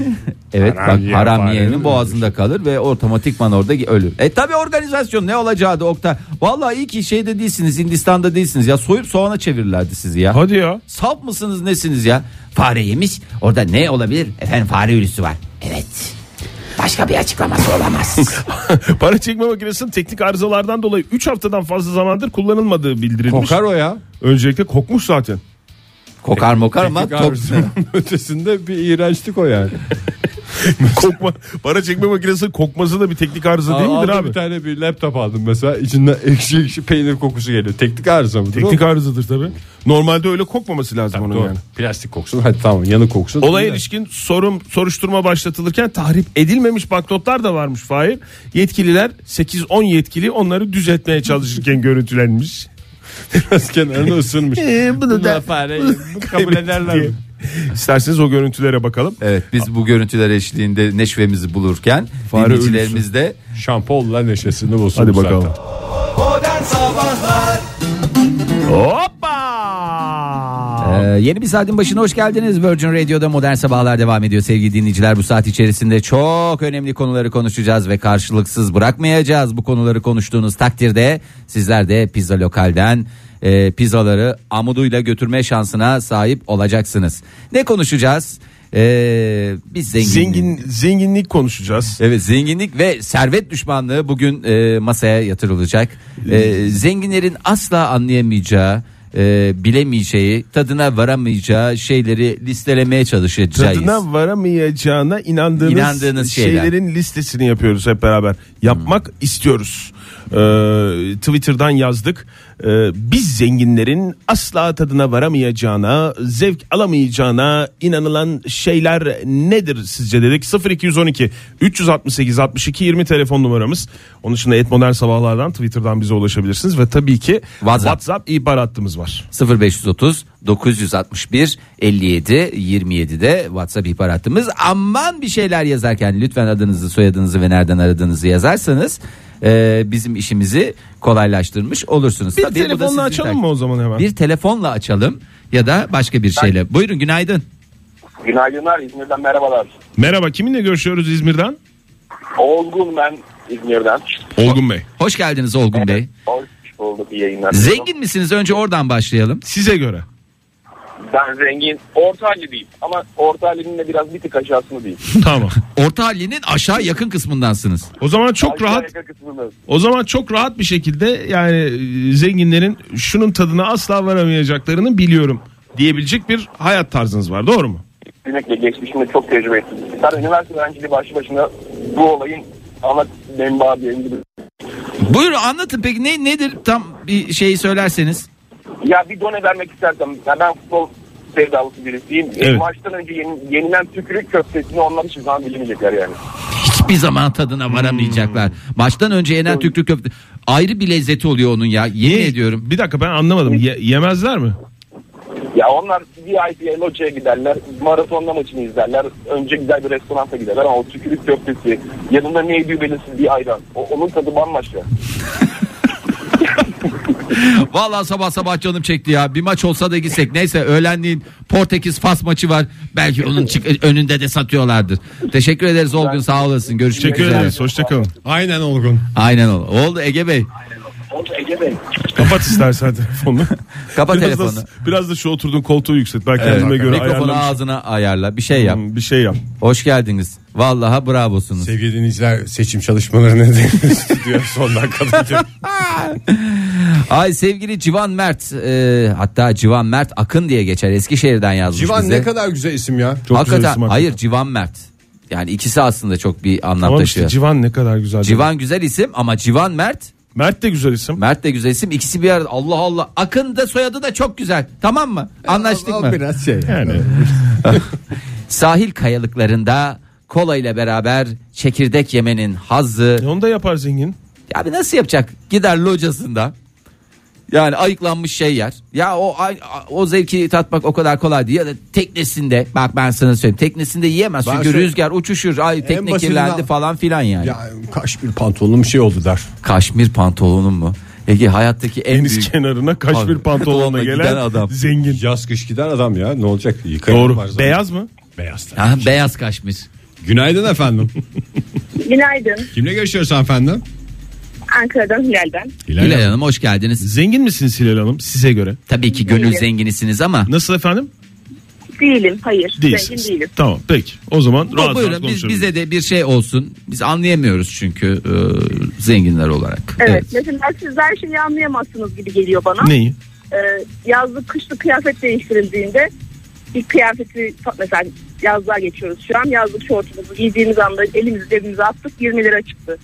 Speaker 4: Evet
Speaker 3: Haram
Speaker 4: bak
Speaker 3: yiyen
Speaker 4: haram
Speaker 3: fare
Speaker 4: yiyenin
Speaker 3: ölür.
Speaker 4: boğazında kalır ve otomatikman orada ölür. E tabi organizasyon ne olacağı da Oktay. Vallahi iyi ki şeyde değilsiniz Hindistan'da değilsiniz ya soyup soğana çevirirlerdi sizi ya.
Speaker 5: Hadi ya.
Speaker 4: Saf mısınız nesiniz ya? Fare yemiş orada ne olabilir? Efendim fare virüsü var. Evet başka bir açıklaması olamaz.
Speaker 5: Para çekme makinesinin teknik arızalardan dolayı 3 haftadan fazla zamandır kullanılmadığı bildirilmiş.
Speaker 3: Kokar o ya.
Speaker 5: Öncelikle kokmuş zaten.
Speaker 4: Kokar mokar ama
Speaker 3: Teknik
Speaker 4: top...
Speaker 3: arızanın ötesinde bir iğrençlik o yani.
Speaker 5: Kokma, para çekme makinesinin kokması da bir teknik arıza değil midir
Speaker 3: Aldım
Speaker 5: abi?
Speaker 3: Bir tane bir laptop aldım mesela. İçinden ekşi ekşi peynir kokusu geliyor. Teknik arıza mıdır?
Speaker 5: Teknik
Speaker 3: o?
Speaker 5: arızadır tabi. Normalde öyle kokmaması lazım onun
Speaker 3: Doğru.
Speaker 5: yani.
Speaker 3: Plastik koksun. Hadi tamam yanı koksun.
Speaker 5: Olaya
Speaker 3: Yine-
Speaker 5: ilişkin sorum soruşturma başlatılırken tahrip edilmemiş banknotlar da varmış Fahir. Yetkililer 8-10 yetkili onları düzeltmeye çalışırken görüntülenmiş.
Speaker 3: Biraz kenarına ısınmış.
Speaker 5: bunu da
Speaker 3: fare kabul ederler mi?
Speaker 5: İsterseniz o görüntülere bakalım.
Speaker 4: Evet biz bu görüntüler eşliğinde neşvemizi bulurken
Speaker 5: Fare
Speaker 4: dinleyicilerimiz de
Speaker 3: Şampolla neşesini bulsun.
Speaker 5: Hadi
Speaker 3: bu
Speaker 5: bakalım.
Speaker 3: zaten.
Speaker 2: Modern Sabahlar
Speaker 5: Hoppa!
Speaker 4: Ee, yeni bir saatin başına hoş geldiniz. Virgin Radio'da Modern Sabahlar devam ediyor sevgili dinleyiciler. Bu saat içerisinde çok önemli konuları konuşacağız ve karşılıksız bırakmayacağız bu konuları konuştuğunuz takdirde. Sizler de pizza lokalden e, pizzaları amuduyla götürme şansına sahip olacaksınız. Ne konuşacağız? Ee, biz zengin...
Speaker 5: Zengin zenginlik konuşacağız.
Speaker 4: Evet zenginlik ve servet düşmanlığı bugün e, masaya yatırılacak. E, zenginlerin asla anlayamayacağı, e, bilemeyeceği, tadına varamayacağı şeyleri listelemeye çalışacağız.
Speaker 5: Tadına varamayacağına inandığınız,
Speaker 4: İnandığınız şeyler. Hmm.
Speaker 5: şeylerin listesini yapıyoruz hep beraber. Yapmak istiyoruz. Ee, Twitter'dan yazdık. Ee, biz zenginlerin asla tadına varamayacağına, zevk alamayacağına inanılan şeyler nedir sizce dedik. 0212 368 62 20 telefon numaramız. Onun dışında et modern sabahlardan Twitter'dan bize ulaşabilirsiniz. Ve tabii ki
Speaker 4: WhatsApp.
Speaker 5: WhatsApp, ihbar hattımız var.
Speaker 4: 0530 961 57 27'de WhatsApp ihbar hattımız. Aman bir şeyler yazarken lütfen adınızı, soyadınızı ve nereden aradığınızı yazarsanız e, bizim işimizi kolaylaştırmış olursunuz.
Speaker 5: Bir
Speaker 4: Tabii bu da sizin
Speaker 5: telefonla açalım
Speaker 4: tak-
Speaker 5: mı o zaman hemen?
Speaker 4: Bir telefonla açalım ya da başka bir şeyle. Buyurun günaydın.
Speaker 8: Günaydınlar İzmir'den merhabalar.
Speaker 5: Merhaba kiminle görüşüyoruz İzmir'den?
Speaker 8: Olgun ben İzmir'den.
Speaker 5: Olgun Bey.
Speaker 4: Hoş geldiniz Olgun Bey.
Speaker 8: Hoş bulduk iyi yayınlar.
Speaker 4: Zengin misiniz? Önce oradan başlayalım.
Speaker 5: Size göre.
Speaker 8: Ben zengin. Orta halli değil. Ama orta hallinin de biraz bir tık aşağısını değil.
Speaker 5: Tamam.
Speaker 4: Orta hallinin aşağı yakın kısmındansınız.
Speaker 5: O zaman çok
Speaker 8: Aşağı
Speaker 5: rahat
Speaker 8: yaka kısmını.
Speaker 5: o zaman çok rahat bir şekilde yani e, zenginlerin şunun tadına asla varamayacaklarını biliyorum diyebilecek bir hayat tarzınız var. Doğru mu?
Speaker 8: Kesinlikle geçmişimde çok tecrübe ettim. Ben üniversite öğrenciliği başlı başına bu olayın ana menbaı diyebilirim.
Speaker 4: Buyurun anlatın peki ne nedir tam bir şey söylerseniz.
Speaker 8: Ya bir done vermek istersem ya ben futbol sevdalısı birisiyim. E,
Speaker 5: Evet.
Speaker 8: Maçtan önce yeni- yenilen tükürük köftesini onlar hiçbir zaman bilemeyecekler yani.
Speaker 4: Hiçbir zaman
Speaker 5: Hmm.
Speaker 4: tadına varamayacaklar. Maçtan önce yenen tüklü köfte ayrı bir lezzeti oluyor onun ya. Yemin ediyorum.
Speaker 5: Bir dakika ben anlamadım. Ye- yemezler mi?
Speaker 8: Ya onlar VIP'ye, loçeye giderler. Maratonda maçını izlerler. Önce güzel bir restoranta giderler ama o tükürük köftesi. Yanında ne ediyor belirsiz bir ayran. O, onun tadı bambaşka.
Speaker 4: Vallahi sabah sabah canım çekti ya. Bir maç olsa da gitsek. Neyse öğlenliğin Portekiz Fas maçı var. Belki onun çık- önünde de satıyorlardır. Teşekkür ederiz Olgun sağ olasın. Görüşmek
Speaker 5: Teşekkür
Speaker 4: üzere.
Speaker 5: ederiz. Hoşçakalın.
Speaker 3: Aynen olgun.
Speaker 4: Aynen oldu. Oldu Ege Bey.
Speaker 8: Oldu Ege Bey.
Speaker 5: Kapat istersen telefonunu.
Speaker 4: Kapa
Speaker 5: biraz
Speaker 4: telefonu.
Speaker 5: Da, biraz da şu oturduğun koltuğu yükselt. Ben
Speaker 4: Evet.
Speaker 5: kendime göre
Speaker 4: Mikrofonu
Speaker 5: ayarlamışım.
Speaker 4: ağzına ayarla. Bir şey yap.
Speaker 5: Hmm, Bir şey yap.
Speaker 4: Hoş geldiniz. Vallahi bravosunuz.
Speaker 3: Sevgili dinleyiciler seçim çalışmaları nedeniyle stüdyo son dakikada
Speaker 4: Ay sevgili Civan Mert e, hatta Civan Mert Akın diye geçer Eskişehir'den yazmış
Speaker 3: Civan
Speaker 4: bize.
Speaker 3: ne kadar güzel isim ya.
Speaker 5: Çok güzel
Speaker 4: hakikaten,
Speaker 5: isim hakikaten.
Speaker 4: hayır Civan Mert. Yani ikisi aslında çok bir anlam
Speaker 5: Tamam
Speaker 4: taşıyor.
Speaker 5: işte Civan ne kadar güzel.
Speaker 4: Civan güzel isim ama Civan Mert
Speaker 5: Mert de güzel isim.
Speaker 4: Mert de güzel isim. İkisi bir arada. Allah Allah. Akın da soyadı da çok güzel. Tamam mı? Anlaştık
Speaker 3: O
Speaker 4: mı?
Speaker 3: Biraz şey.
Speaker 5: Yani
Speaker 4: Sahil kayalıklarında kola ile beraber çekirdek yemenin hazzı.
Speaker 5: onu da yapar zengin.
Speaker 4: Ya bir nasıl yapacak? Gider locasında. Yani ayıklanmış şey yer. Ya o ay- o zevki tatmak o kadar kolay değil. Ya da teknesinde bak ben sana söyleyeyim. Teknesinde yiyemez.
Speaker 3: Ben
Speaker 4: Çünkü
Speaker 3: şöyle-
Speaker 4: rüzgar uçuşur. Ay tekne
Speaker 3: basitinden-
Speaker 4: kirlendi falan filan yani.
Speaker 3: Ya kaş bir pantolonum şey oldu der.
Speaker 4: Kaşmir pantolonun mu? Ege hayattaki en
Speaker 5: Deniz
Speaker 4: büyük
Speaker 5: kenarına kaşmir
Speaker 4: Abi,
Speaker 5: pantolonla
Speaker 4: pantolonla
Speaker 5: gelen
Speaker 4: giden adam.
Speaker 5: zengin.
Speaker 3: Yaz kış gider adam ya ne olacak? Yıkayın var
Speaker 5: Doğru.
Speaker 3: zaten.
Speaker 5: Beyaz mı?
Speaker 3: Beyaz. tabii.
Speaker 4: Ha, beyaz kaşmir.
Speaker 3: Günaydın efendim.
Speaker 9: Günaydın.
Speaker 3: Kimle görüşüyoruz efendim?
Speaker 9: Ankara'dan Hilal'den.
Speaker 4: Hilal Hanım hoş geldiniz.
Speaker 5: Zengin misiniz Hilal Hanım size göre?
Speaker 4: Tabii ki gönül
Speaker 9: Değilim.
Speaker 4: zenginisiniz ama
Speaker 5: Nasıl efendim?
Speaker 9: Değilim. Hayır.
Speaker 5: Değilsiniz.
Speaker 9: Zengin değilim.
Speaker 5: Tamam peki. O zaman rahat rahat
Speaker 4: buyurun biz,
Speaker 5: konuşalım.
Speaker 4: bize de bir şey olsun. Biz anlayamıyoruz çünkü e, zenginler olarak.
Speaker 9: Evet. Mesela siz her şeyi anlayamazsınız gibi geliyor bana.
Speaker 5: Neyi?
Speaker 9: Ee, yazlık kışlık kıyafet değiştirildiğinde bir kıyafeti mesela yazlığa geçiyoruz şu an. Yazlık şortumuzu giydiğimiz anda elimizi cebimize attık 20 lira çıktı.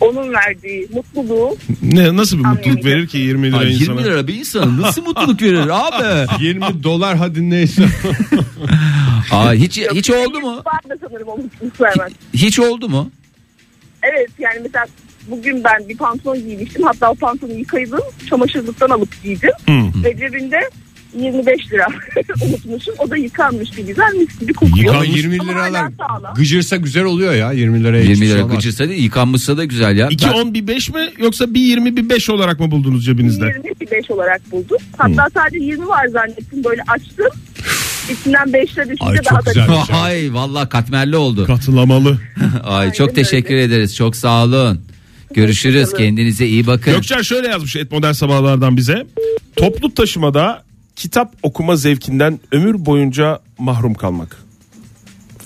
Speaker 9: Onun verdiği mutluluğu
Speaker 5: Ne, nasıl bir mutluluk
Speaker 9: Anlayamayacağım.
Speaker 5: verir ki 20 lira
Speaker 4: Ay, 20
Speaker 5: insana?
Speaker 4: lira bir insan nasıl mutluluk verir abi?
Speaker 9: Ah.
Speaker 3: 20 dolar hadi neyse.
Speaker 4: Aa, hiç E, hiç oldu mu?
Speaker 9: Var da sanırım o mutluluk vermez.
Speaker 4: Hiç oldu mu?
Speaker 9: Evet yani mesela bugün ben bir pantolon giymiştim. Hatta o pantolonu yıkaydım. Çamaşırlıktan alıp giydim.
Speaker 5: Hı.
Speaker 9: Ve cebinde 25 lira unutmuşum. O da yıkanmış bir güzel mis gibi kokuyor.
Speaker 3: Ama 20
Speaker 9: Ama
Speaker 3: liralar
Speaker 9: hala sağlam.
Speaker 3: gıcırsa güzel oluyor ya 20 liraya.
Speaker 4: 20
Speaker 3: hiçbir şey
Speaker 4: lira
Speaker 3: olmaz.
Speaker 4: gıcırsa da yıkanmışsa da güzel ya.
Speaker 5: 2
Speaker 4: Ben-
Speaker 5: 10 bir 5 mi yoksa bir 20 bir 5 olarak mı buldunuz cebinizde?
Speaker 9: 25 olarak buldum. Hatta sadece 20 var zannettim. Böyle açtım. İçinden 5 lira düşünce
Speaker 3: Ay, çok
Speaker 9: daha da
Speaker 3: güzel.
Speaker 4: Ay vallahi katmerli oldu.
Speaker 5: Katılamalı.
Speaker 4: Ay
Speaker 9: Aynen
Speaker 4: çok teşekkür ederiz. Çok sağ olun. Görüşürüz.
Speaker 9: Hoşçakalın.
Speaker 4: Kendinize iyi bakın.
Speaker 5: Gökçer şöyle yazmış et modern sabahlardan bize. Toplu taşımada kitap okuma zevkinden ömür boyunca mahrum kalmak.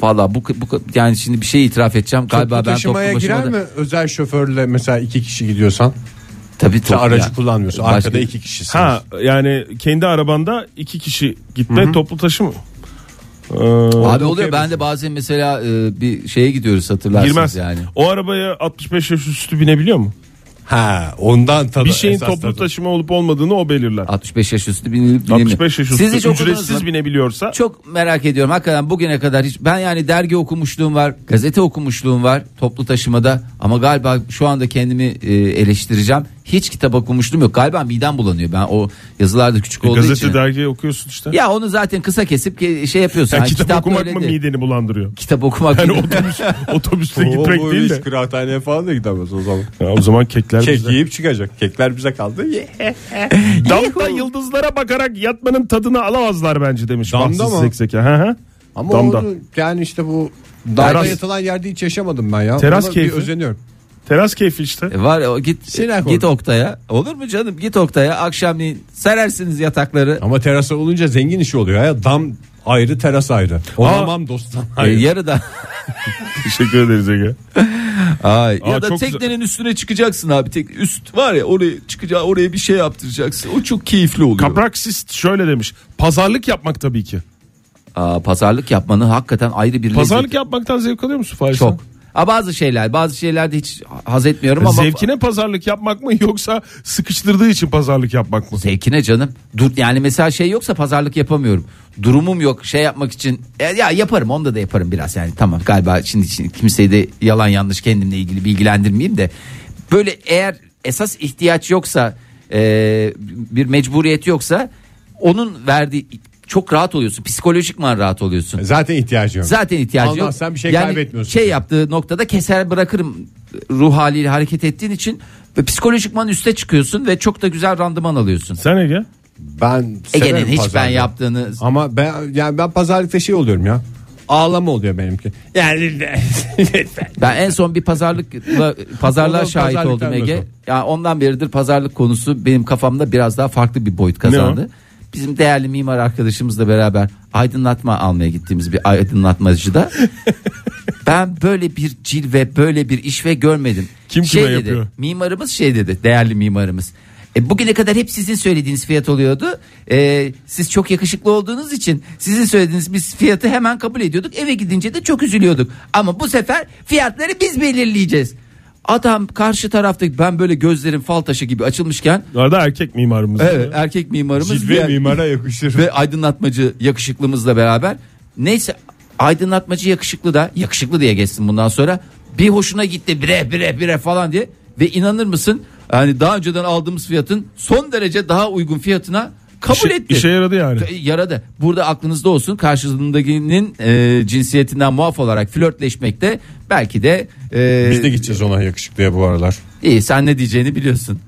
Speaker 4: Valla bu, bu yani şimdi bir şey itiraf edeceğim. Galiba
Speaker 3: Toplu
Speaker 4: ben
Speaker 3: taşımaya
Speaker 4: toplu
Speaker 3: girer
Speaker 4: başıma da-
Speaker 3: mi özel şoförle mesela iki kişi gidiyorsan
Speaker 4: Tabii
Speaker 3: sen
Speaker 4: toplu
Speaker 3: aracı
Speaker 4: ya.
Speaker 3: kullanmıyorsun
Speaker 4: Başka-
Speaker 3: arkada iki kişisiniz.
Speaker 5: Ha yani kendi arabanda iki kişi gitme toplu taşıma. Ee,
Speaker 4: Abi oluyor ben de bazen mesela e, bir şeye gidiyoruz hatırlarsınız
Speaker 5: girmez.
Speaker 4: yani.
Speaker 5: O arabaya 65 yaş üstü binebiliyor mu?
Speaker 3: Ha ondan tabii.
Speaker 5: Bir şeyin
Speaker 3: esas
Speaker 5: toplu
Speaker 3: tadı.
Speaker 5: taşıma olup olmadığını o belirler.
Speaker 4: 65 yaş üstü binilip binilmiyor.
Speaker 5: 65 yaş üstü
Speaker 4: Siz hiç okudunuz mu?
Speaker 5: ücretsiz binebiliyorsa
Speaker 4: Çok merak ediyorum hakikaten bugüne kadar hiç ben yani dergi okumuşluğum var, gazete okumuşluğum var toplu taşımada ama galiba şu anda kendimi e, eleştireceğim. Hiç kitap okumuşluğum yok. Galiba midem bulanıyor. Ben o yazılarda küçük olduğu
Speaker 5: e, gazete
Speaker 4: için.
Speaker 5: dergiye okuyorsun işte.
Speaker 4: Ya onu zaten kısa kesip ke- şey yapıyorsun.
Speaker 5: Ya
Speaker 4: Yani
Speaker 5: kitap,
Speaker 4: kitap
Speaker 5: okumak
Speaker 4: öyle
Speaker 5: mı
Speaker 4: değil.
Speaker 5: mideni bulandırıyor?
Speaker 4: Kitap okumak
Speaker 5: Yani
Speaker 4: değil.
Speaker 5: otobüs, otobüste
Speaker 3: Oo,
Speaker 5: gitmek
Speaker 3: bu
Speaker 5: değil
Speaker 3: hiç
Speaker 5: de.
Speaker 3: kıraathaneye falan da gidemez o zaman.
Speaker 5: Ya o zaman kekler
Speaker 3: Kek
Speaker 5: bizde.
Speaker 3: yiyip çıkacak. Kekler bize kaldı. Ye.
Speaker 5: Damda yıldızlara bakarak yatmanın tadını alamazlar bence demiş.
Speaker 3: Damda
Speaker 5: Damda
Speaker 3: mı?
Speaker 5: Sekseke. Hı hı.
Speaker 3: Ama
Speaker 5: Damda.
Speaker 3: onu yani işte bu damda
Speaker 5: Teras.
Speaker 3: yatılan yerde hiç yaşamadım ben ya.
Speaker 5: Teras
Speaker 3: Ona
Speaker 5: keyfi.
Speaker 3: Bir özeniyorum.
Speaker 5: Teras keyfi işte.
Speaker 4: E Var o git
Speaker 5: Şey
Speaker 3: Sinek
Speaker 4: git
Speaker 3: olur.
Speaker 4: Oktay'a. Olur mu canım? Git Oktay'a. Akşamleyin serersiniz yatakları.
Speaker 3: Ama terasa olunca zengin işi oluyor ya. Dam ayrı teras ayrı. Olamam dostum.
Speaker 4: E, yarıda.
Speaker 5: Teşekkür ederiz Ege.
Speaker 4: Ay, ya
Speaker 5: Aa,
Speaker 4: da
Speaker 5: çok
Speaker 4: teknenin üstüne çıkacaksın abi. Tek üst var ya oraya çıkacağı oraya bir şey yaptıracaksın. O çok keyifli oluyor.
Speaker 5: Kapraksist şöyle demiş. Pazarlık yapmak tabii ki.
Speaker 4: Aa, pazarlık yapmanın hakikaten ayrı bir
Speaker 5: Pazarlık
Speaker 4: lezzeti.
Speaker 5: yapmaktan zevk alıyor musun Fahri?
Speaker 4: çok. Aa, bazı şeyler bazı şeylerde hiç haz etmiyorum ama
Speaker 5: Zevkine pazarlık yapmak mı yoksa sıkıştırdığı için pazarlık yapmak mı?
Speaker 4: Zevkine canım. Dur yani mesela şey yoksa pazarlık yapamıyorum. Durumum yok şey yapmak için. E, ya yaparım onda da yaparım biraz yani tamam galiba şimdi, şimdi kimseyi de yalan yanlış kendimle ilgili bilgilendirmeyeyim de. Böyle eğer esas ihtiyaç yoksa e, bir mecburiyet yoksa onun verdiği çok rahat oluyorsun. Psikolojikman rahat oluyorsun.
Speaker 3: Zaten ihtiyacı yok.
Speaker 4: Zaten ihtiyacı
Speaker 3: Allah,
Speaker 4: yok.
Speaker 3: sen bir şey
Speaker 4: yani
Speaker 3: kaybetmiyorsun.
Speaker 4: Şey yaptığı noktada keser bırakırım ruh haliyle hareket ettiğin için ve psikolojikman üste çıkıyorsun ve çok da güzel randıman alıyorsun.
Speaker 5: Sen Ege?
Speaker 3: Ben severim
Speaker 4: Ege'nin hiç ben
Speaker 3: pazarlığı.
Speaker 4: yaptığını
Speaker 3: Ama ben yani ben pazarlıkta şey oluyorum ya. Ağlama oluyor benimki. Yani de- lütfen.
Speaker 4: ben en son bir pazarlıkla pazarlığa
Speaker 3: Ondan
Speaker 4: şahit
Speaker 3: pazarlıktan
Speaker 4: oldum Ege.
Speaker 3: nasıl?
Speaker 4: Ya ondan beridir pazarlık konusu benim kafamda biraz daha farklı bir boyut
Speaker 5: Ne
Speaker 4: kazandı. Bizim değerli mimar arkadaşımızla beraber aydınlatma almaya gittiğimiz bir aydınlatmacıda ben böyle bir cilve böyle bir işve görmedim.
Speaker 5: Kim
Speaker 4: şey
Speaker 5: kime
Speaker 4: dedi,
Speaker 5: yapıyor?
Speaker 4: Mimarımız şey dedi değerli mimarımız. E, bugüne kadar hep sizin söylediğiniz fiyat oluyordu. E, siz çok yakışıklı olduğunuz için sizin söylediğiniz biz fiyatı hemen kabul ediyorduk. Eve gidince de çok üzülüyorduk. Ama bu sefer fiyatları biz belirleyeceğiz. Adam karşı taraftaki ben böyle gözlerim fal taşı gibi açılmışken
Speaker 5: Arada erkek mimarımız.
Speaker 4: Evet, erkek mimarımız diğer-
Speaker 5: yakışır.
Speaker 4: ve aydınlatmacı yakışıklımızla beraber. Neyse aydınlatmacı yakışıklı da yakışıklı diye geçsin bundan sonra. Bir hoşuna gitti bire bire bire falan diye. Ve inanır mısın yani daha önceden aldığımız fiyatın son derece daha uygun fiyatına kabul
Speaker 5: İşe-
Speaker 4: etti.
Speaker 5: işe yaradı yani.
Speaker 4: E, Yaradı. Burada aklınızda olsun karşılığındakinin e, cinsiyetinden muaf olarak flörtleşmekte belki de e,
Speaker 7: Biz de gideceğiz ona yakışıklıya bu aralar.
Speaker 4: iyi sen ne diyeceğini biliyorsun.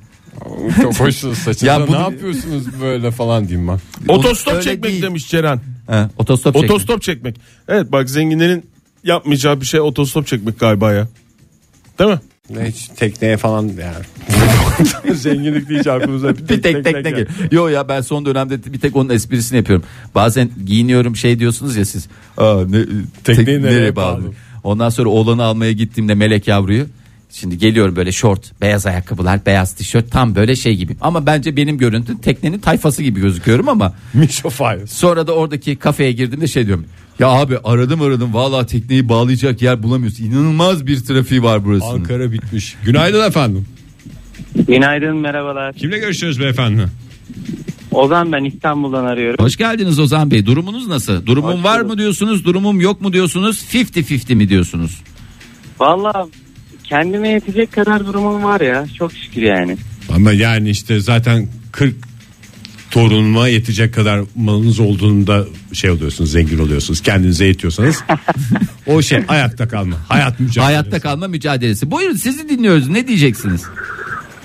Speaker 7: Çok hoşsunuz saçınıza.
Speaker 4: Ya bu-
Speaker 7: ne yapıyorsunuz böyle falan diyeyim ben.
Speaker 5: Otostop
Speaker 4: Öyle
Speaker 5: çekmek
Speaker 4: değil.
Speaker 5: demiş Ceren.
Speaker 4: Ha, otostop çekmek.
Speaker 5: Otostop çekmek. Evet bak zenginlerin yapmayacağı bir şey otostop çekmek galiba ya. Değil mi?
Speaker 7: Ne hiç tekneye falan yani. Zenginlik deyince aklımıza
Speaker 4: bir tek tek tek.
Speaker 7: gel.
Speaker 4: Yo ya ben son dönemde bir tek onun esprisini yapıyorum. Bazen giyiniyorum şey diyorsunuz ya siz. Aa, ne, e,
Speaker 7: Tekneyi nereye
Speaker 4: bağladın?"
Speaker 7: bağladın?
Speaker 4: Ondan sonra oğlanı almaya gittiğimde melek yavruyu. Şimdi geliyor böyle şort, beyaz ayakkabılar, beyaz tişört tam böyle şey gibi. Ama bence benim görüntüm teknenin tayfası gibi gözüküyorum ama
Speaker 7: Mişo Files.
Speaker 4: Sonra da oradaki kafeye girdiğimde şey diyorum. Ya abi aradım aradım vallahi tekneyi bağlayacak yer bulamıyoruz. İnanılmaz bir trafiği var burası.
Speaker 7: Ankara bitmiş. Günaydın efendim.
Speaker 10: Günaydın merhabalar.
Speaker 7: Kimle görüşüyoruz beyefendi?
Speaker 10: Ozan ben İstanbul'dan arıyorum.
Speaker 4: Hoş geldiniz Ozan Bey. Durumunuz nasıl? Durumum var mı diyorsunuz, durumum yok mu diyorsunuz, 50-50 mi diyorsunuz?
Speaker 10: Valla kendime yetecek kadar durumum var ya çok şükür yani.
Speaker 7: Ama yani işte zaten 40 torunuma yetecek kadar malınız olduğunda şey oluyorsunuz zengin oluyorsunuz kendinize yetiyorsanız o şey ayakta kalma hayat mücadelesi
Speaker 4: Hayatta kalma mücadelesi. Buyurun sizi dinliyoruz. Ne diyeceksiniz?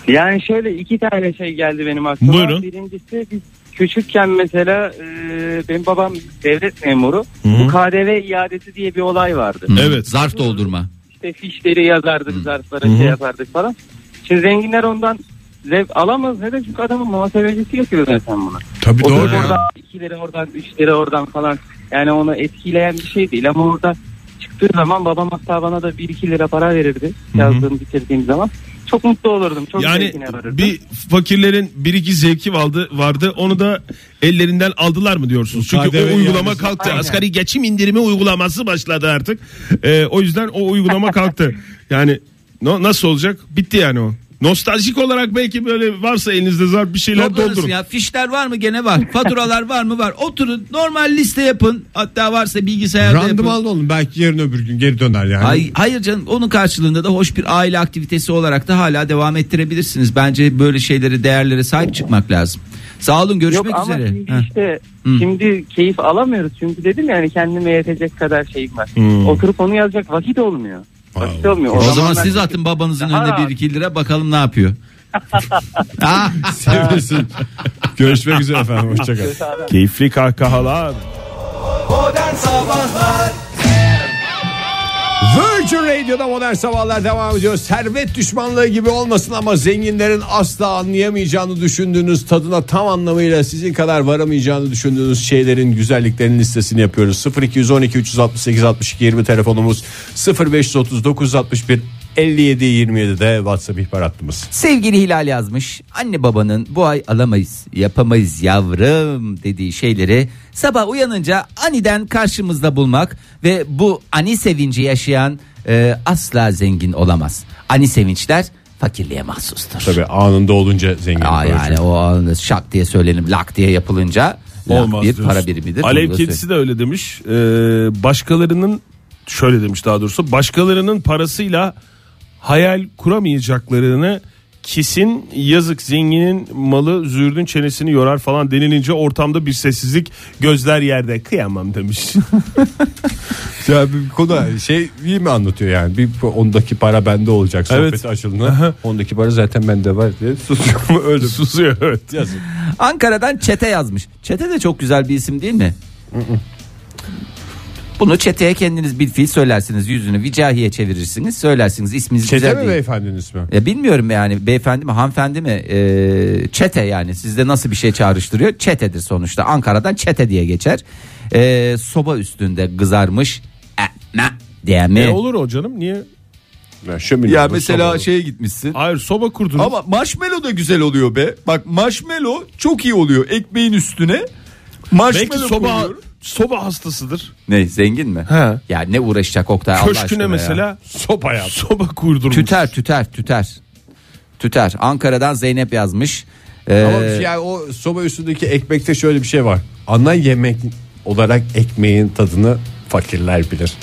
Speaker 10: Yani şöyle iki tane şey geldi benim aklıma.
Speaker 5: Buyurun.
Speaker 10: Birincisi biz küçükken mesela e, benim babam devlet memuru. Bu KDV iadesi diye bir olay vardı.
Speaker 5: Evet.
Speaker 4: Zarf doldurma.
Speaker 10: İşte fişleri yazardık zarflara şey yapardık falan. Şimdi zenginler ondan zevk alamaz. Neden? Çünkü adamın muhasebecisi yapıyor zaten bunu.
Speaker 7: tabii
Speaker 10: O
Speaker 7: doğru
Speaker 10: da oradan 2 lira oradan 3 lira oradan falan. Yani onu etkileyen bir şey değil ama orada çıktığı zaman babam hatta bana da 1-2 lira para verirdi. Yazdığım bitirdiğim zaman. Çok mutlu olurdum. Çok
Speaker 5: Yani
Speaker 10: zevkine varırdım.
Speaker 5: bir fakirlerin bir iki zevki vardı, vardı. Onu da ellerinden aldılar mı diyorsunuz? Çünkü
Speaker 7: KDV
Speaker 5: o uygulama
Speaker 7: yani-
Speaker 5: kalktı.
Speaker 10: Aynen.
Speaker 5: Asgari geçim indirimi uygulaması başladı artık. Ee, o yüzden o uygulama kalktı. Yani no- nasıl olacak? Bitti yani o. Nostaljik olarak belki böyle varsa elinizde zar bir şeyler
Speaker 4: Doldurursun
Speaker 5: doldurun.
Speaker 4: ya. Fişler var mı? Gene var. Faturalar var mı? Var. Oturun. Normal liste yapın. Hatta varsa bilgisayarda yapın.
Speaker 7: randımanlı olun belki yarın öbür gün geri döner yani
Speaker 4: Ay- hayır canım onun karşılığında da hoş bir aile aktivitesi olarak da hala devam ettirebilirsiniz. Bence böyle şeylere değerlere sahip çıkmak lazım. Sağ olun
Speaker 10: Yok
Speaker 4: görüşmek
Speaker 10: ama
Speaker 4: üzere.
Speaker 10: şimdi
Speaker 4: Heh.
Speaker 10: işte
Speaker 4: Hı.
Speaker 10: şimdi keyif alamıyoruz. Çünkü dedim yani kendime yetecek kadar şeyim var. Oturup onu yazacak vakit olmuyor. Vakit olmuyor.
Speaker 4: O zaman siz
Speaker 10: ben-
Speaker 4: atın babanızın
Speaker 10: Daha
Speaker 4: önüne
Speaker 10: rahat.
Speaker 4: 1-2 lira bakalım ne yapıyor. Ah,
Speaker 7: Sevinsin. görüşmek üzere efendim hoşçakalın
Speaker 5: Keyifli kahkahalar.
Speaker 2: Modern Sabahlar
Speaker 3: Virgin Radio'da modern sabahlar devam ediyor. Servet düşmanlığı gibi olmasın ama zenginlerin asla anlayamayacağını düşündüğünüz tadına tam anlamıyla sizin kadar varamayacağını düşündüğünüz şeylerin güzelliklerinin listesini yapıyoruz. 0212 368 62 20 telefonumuz 0539 61 57 27'de WhatsApp ihbar hattımız.
Speaker 4: Sevgili Hilal yazmış. Anne babanın bu ay alamayız, yapamayız yavrum dediği şeyleri sabah uyanınca aniden karşımızda bulmak ve bu ani sevinci yaşayan e, asla zengin olamaz. Ani sevinçler fakirliğe mahsustur.
Speaker 7: tabii anında olunca zengin
Speaker 4: Aa, yani o anda şak diye söylenip lak diye yapılınca lak
Speaker 5: Olmaz
Speaker 4: bir
Speaker 5: diyorsun.
Speaker 4: para birimidir. Bunu
Speaker 5: Alev
Speaker 4: da
Speaker 5: kedisi de öyle demiş. Ee, başkalarının şöyle demiş daha doğrusu başkalarının parasıyla hayal kuramayacaklarını kesin yazık zenginin malı zürdün çenesini yorar falan denilince ortamda bir sessizlik gözler yerde kıyamam demiş.
Speaker 7: Ya bir konu şey iyi mi anlatıyor yani? Bir ondaki para bende olacak sohbeti
Speaker 5: Evet.
Speaker 7: açıldığında. Ondaki para zaten bende var diye susuyor.
Speaker 5: Öyle susuyor evet. Yazık.
Speaker 4: Ankara'dan Çete yazmış. Çete de çok güzel bir isim değil mi? Bunu çeteye kendiniz bir fiil söylersiniz. Yüzünü vicahiye çevirirsiniz. Söylersiniz isminiz
Speaker 7: Çete
Speaker 4: güzel
Speaker 7: mi
Speaker 4: değil.
Speaker 7: beyefendinin ismi?
Speaker 4: Ya bilmiyorum yani beyefendi mi hanımefendi mi Ee, çete yani sizde nasıl bir şey çağrıştırıyor çetedir sonuçta Ankara'dan çete diye geçer E, Ee, soba üstünde kızarmış etme diye mi
Speaker 5: E olur o canım niye?
Speaker 3: Ya, şömine
Speaker 4: Ya
Speaker 3: olur,
Speaker 4: mesela
Speaker 3: soba olur.
Speaker 4: şeye gitmişsin.
Speaker 5: Hayır soba kurdunuz.
Speaker 4: Ama marshmallow da güzel oluyor be. Bak marshmallow çok iyi oluyor. Ekmeğin üstüne
Speaker 5: Belki
Speaker 4: marshmallow
Speaker 5: soba
Speaker 4: koyuyor.
Speaker 5: soba hastasıdır.
Speaker 4: Ne zengin mi?
Speaker 5: He.
Speaker 4: Ya ne uğraşacak Oktay Allah aşkına
Speaker 5: Köşküne
Speaker 4: ya.
Speaker 5: mesela soba yap. Soba kurdurmuş.
Speaker 4: Tüter tüter tüter. Tüter. Ankara'dan Zeynep yazmış. Ee,
Speaker 3: Ama yani o soba üstündeki ekmekte şöyle bir şey var. Ana yemek olarak ekmeğin tadını fakirler bilir.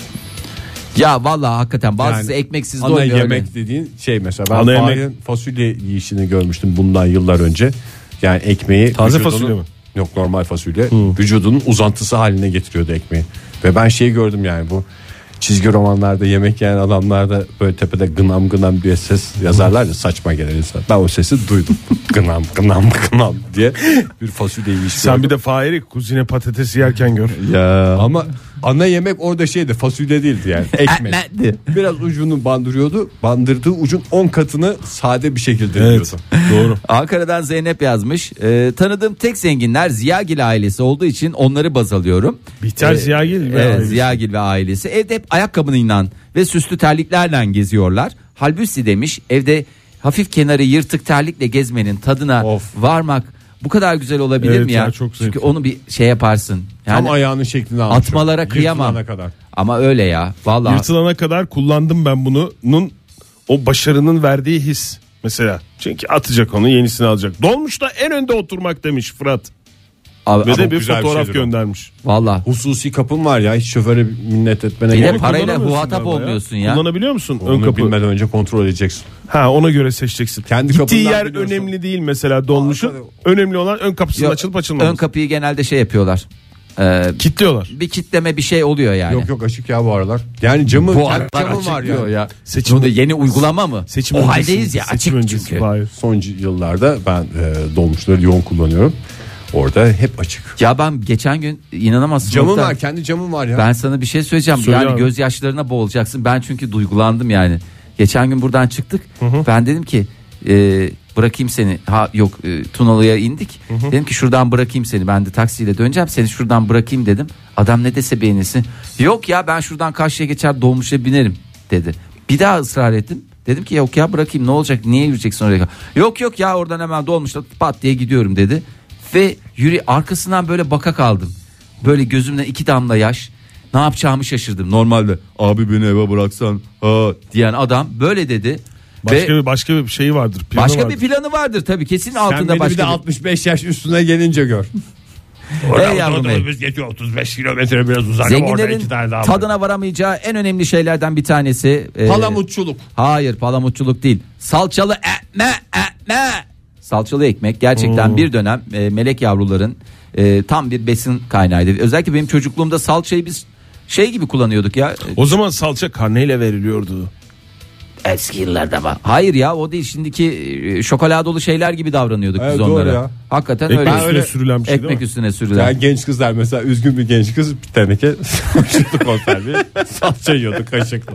Speaker 4: ya vallahi hakikaten bazısı
Speaker 3: Yani
Speaker 4: ekmeksiz
Speaker 3: Ana
Speaker 4: doymuyor.
Speaker 3: yemek
Speaker 4: öyle.
Speaker 3: dediğin şey mesela ben
Speaker 5: Ana yemek-
Speaker 3: Fahir'in fasulye yiyişini görmüştüm bundan yıllar önce. Yani ekmeği
Speaker 5: Taze
Speaker 3: vücudunun-
Speaker 5: fasulye mi?
Speaker 3: Yok normal fasulye. Vücudunun uzantısı haline getiriyordu ekmeği. Ve ben şeyi gördüm yani bu çizgi romanlarda yemek yiyen adamlarda böyle tepede gınam gınam diye ses yazarlar ya saçma gelen insan. Ben o sesi duydum. gınam gınam gınam diye bir fasulye yiyişi.
Speaker 5: Sen bir
Speaker 3: gördüm.
Speaker 5: de Fahir'i kuzine patatesi yerken gör.
Speaker 3: ya. Ama ana yemek orada şeydi fasulye değildi yani
Speaker 4: E,
Speaker 3: ekmek.
Speaker 4: Ekmekti.
Speaker 3: Biraz ucunu bandırıyordu. Bandırdığı ucun 10 katını sade bir şekilde evet.
Speaker 5: Doğru.
Speaker 4: Ankara'dan Zeynep yazmış. Ee, tanıdığım tek zenginler Ziyagil ailesi olduğu için onları baz alıyorum.
Speaker 5: Biter Ziyagil ve
Speaker 4: evet,
Speaker 5: ailesi.
Speaker 4: Ziyagil ve ailesi. Evde hep ayakkabıyla ve süslü terliklerle geziyorlar. Halbuki demiş evde hafif kenarı yırtık terlikle gezmenin tadına
Speaker 3: Of.
Speaker 4: varmak bu kadar güzel olabilir
Speaker 5: Evet
Speaker 4: mi ya?
Speaker 5: ya, çok zevkli.
Speaker 4: Çünkü onu bir şey yaparsın.
Speaker 3: Tam
Speaker 4: Yani
Speaker 3: ayağının şeklini almış.
Speaker 4: atmalara kıyamam.
Speaker 3: Yırtılana kadar.
Speaker 4: Ama öyle ya. Vallahi
Speaker 5: Yırtılana kadar kullandım ben bunu. Nun o başarının verdiği his mesela. Çünkü atacak onu yenisini alacak. Dolmuşta en önde oturmak demiş Fırat.
Speaker 4: Abi-
Speaker 5: Ve
Speaker 4: ama-
Speaker 5: de bir
Speaker 3: güzel bir
Speaker 5: fotoğraf
Speaker 3: şeydir o.
Speaker 5: göndermiş.
Speaker 4: vallahi.
Speaker 3: Hususi kapın var ya hiç şoföre minnet etmene
Speaker 4: Bir de
Speaker 3: gerek yok.
Speaker 4: parayla
Speaker 5: Kullanamıyorsun
Speaker 4: muhatap
Speaker 5: galiba
Speaker 4: olmuyorsun ya.
Speaker 5: Kullanabiliyor musun ön
Speaker 3: Onu
Speaker 5: kapı?
Speaker 3: bilmeden önce kontrol edeceksin.
Speaker 5: Ha ona göre seçeceksin.
Speaker 3: Kendi
Speaker 5: Gittiği
Speaker 3: kapından
Speaker 5: yer
Speaker 3: biliyorsun.
Speaker 5: önemli değil mesela dolmuşun.
Speaker 3: Aa,
Speaker 5: önemli olan ön kapısının
Speaker 4: Yok,
Speaker 5: açılıp açılmaması.
Speaker 4: Ön kapıyı genelde şey yapıyorlar. Ee,
Speaker 5: Kitliyorlar.
Speaker 4: bir kitleme bir şey oluyor yani.
Speaker 3: Yok yok açık ya bu aralar. Yani camı
Speaker 4: Bu
Speaker 3: kendi
Speaker 4: aralar
Speaker 3: camı
Speaker 4: açık
Speaker 3: var
Speaker 4: diyor
Speaker 3: yani.
Speaker 4: ya.
Speaker 5: Seçim-
Speaker 4: Bu da yeni uygulama mı?
Speaker 5: Seçim
Speaker 4: o
Speaker 5: öncesi-
Speaker 4: haldeyiz ya
Speaker 5: seçim
Speaker 4: açık
Speaker 5: öncesi.
Speaker 4: çünkü.
Speaker 5: Hayır.
Speaker 3: Son yıllarda ben e, dolmuşları yoğun kullanıyorum. Orada hep açık.
Speaker 4: Ya ben geçen gün inanamazsın.
Speaker 3: Camım
Speaker 4: Oktay.
Speaker 3: var kendi camım var ya.
Speaker 4: Ben sana bir şey söyleyeceğim.
Speaker 5: Söyle
Speaker 4: yani
Speaker 5: abi.
Speaker 4: gözyaşlarına boğulacaksın. Ben çünkü duygulandım yani. Geçen gün buradan çıktık. Ben dedim ki e, bırakayım seni. Ha yok e, Tunalı'ya indik. Dedim ki şuradan bırakayım seni. Ben de taksiyle döneceğim. Seni şuradan bırakayım dedim. Adam ne dese beğenirsin. Yok ya ben şuradan karşıya geçer dolmuşa binerim dedi. Bir daha ısrar ettim. Dedim ki yok ya bırakayım ne olacak niye yürüyeceksin oraya? Yok yok ya oradan hemen dolmuşla pat diye gidiyorum dedi. Ve yürü arkasından böyle baka kaldım. Böyle gözümden iki damla yaş. Ne yapacağımı şaşırdım. Normalde abi beni eve bıraksan ha diyen adam böyle dedi.
Speaker 5: Başka
Speaker 4: Ve
Speaker 5: bir başka bir şey vardır. planı
Speaker 4: başka
Speaker 5: vardır.
Speaker 4: bir planı vardır tabii kesin
Speaker 3: Sen
Speaker 4: altında
Speaker 3: beni bir de
Speaker 4: başka bir-
Speaker 3: 65 yaş üstüne gelince gör.
Speaker 4: Ey yavrum ey.
Speaker 5: geçiyor 35 kilometre biraz uzak.
Speaker 4: Zenginlerin tadına varamayacağı en önemli şeylerden bir tanesi. e,
Speaker 3: Palamutçuluk.
Speaker 4: Hayır palamutçuluk değil. Salçalı ekme ekme. Salçalı ekmek gerçekten bir dönem e, melek yavruların e, tam bir besin kaynağıydı. Özellikle benim çocukluğumda salçayı biz şey gibi kullanıyorduk ya.
Speaker 5: O zaman salça karneyle veriliyordu.
Speaker 4: Eski yıllarda bak. Hayır ya o değil şimdiki e, şokolada dolu şeyler gibi davranıyorduk
Speaker 3: Evet,
Speaker 4: biz
Speaker 3: doğru
Speaker 4: onlara.
Speaker 3: ya.
Speaker 4: Hakikaten
Speaker 5: Ekmek
Speaker 4: öyle.
Speaker 5: üstüne
Speaker 3: öyle-
Speaker 5: sürülen bir şey
Speaker 4: Ekmek
Speaker 5: değil mi?
Speaker 4: üstüne sürülen.
Speaker 3: Yani genç kızlar mesela üzgün bir genç kız bir teneke salçalı konservi salça yiyordu kaşıkla.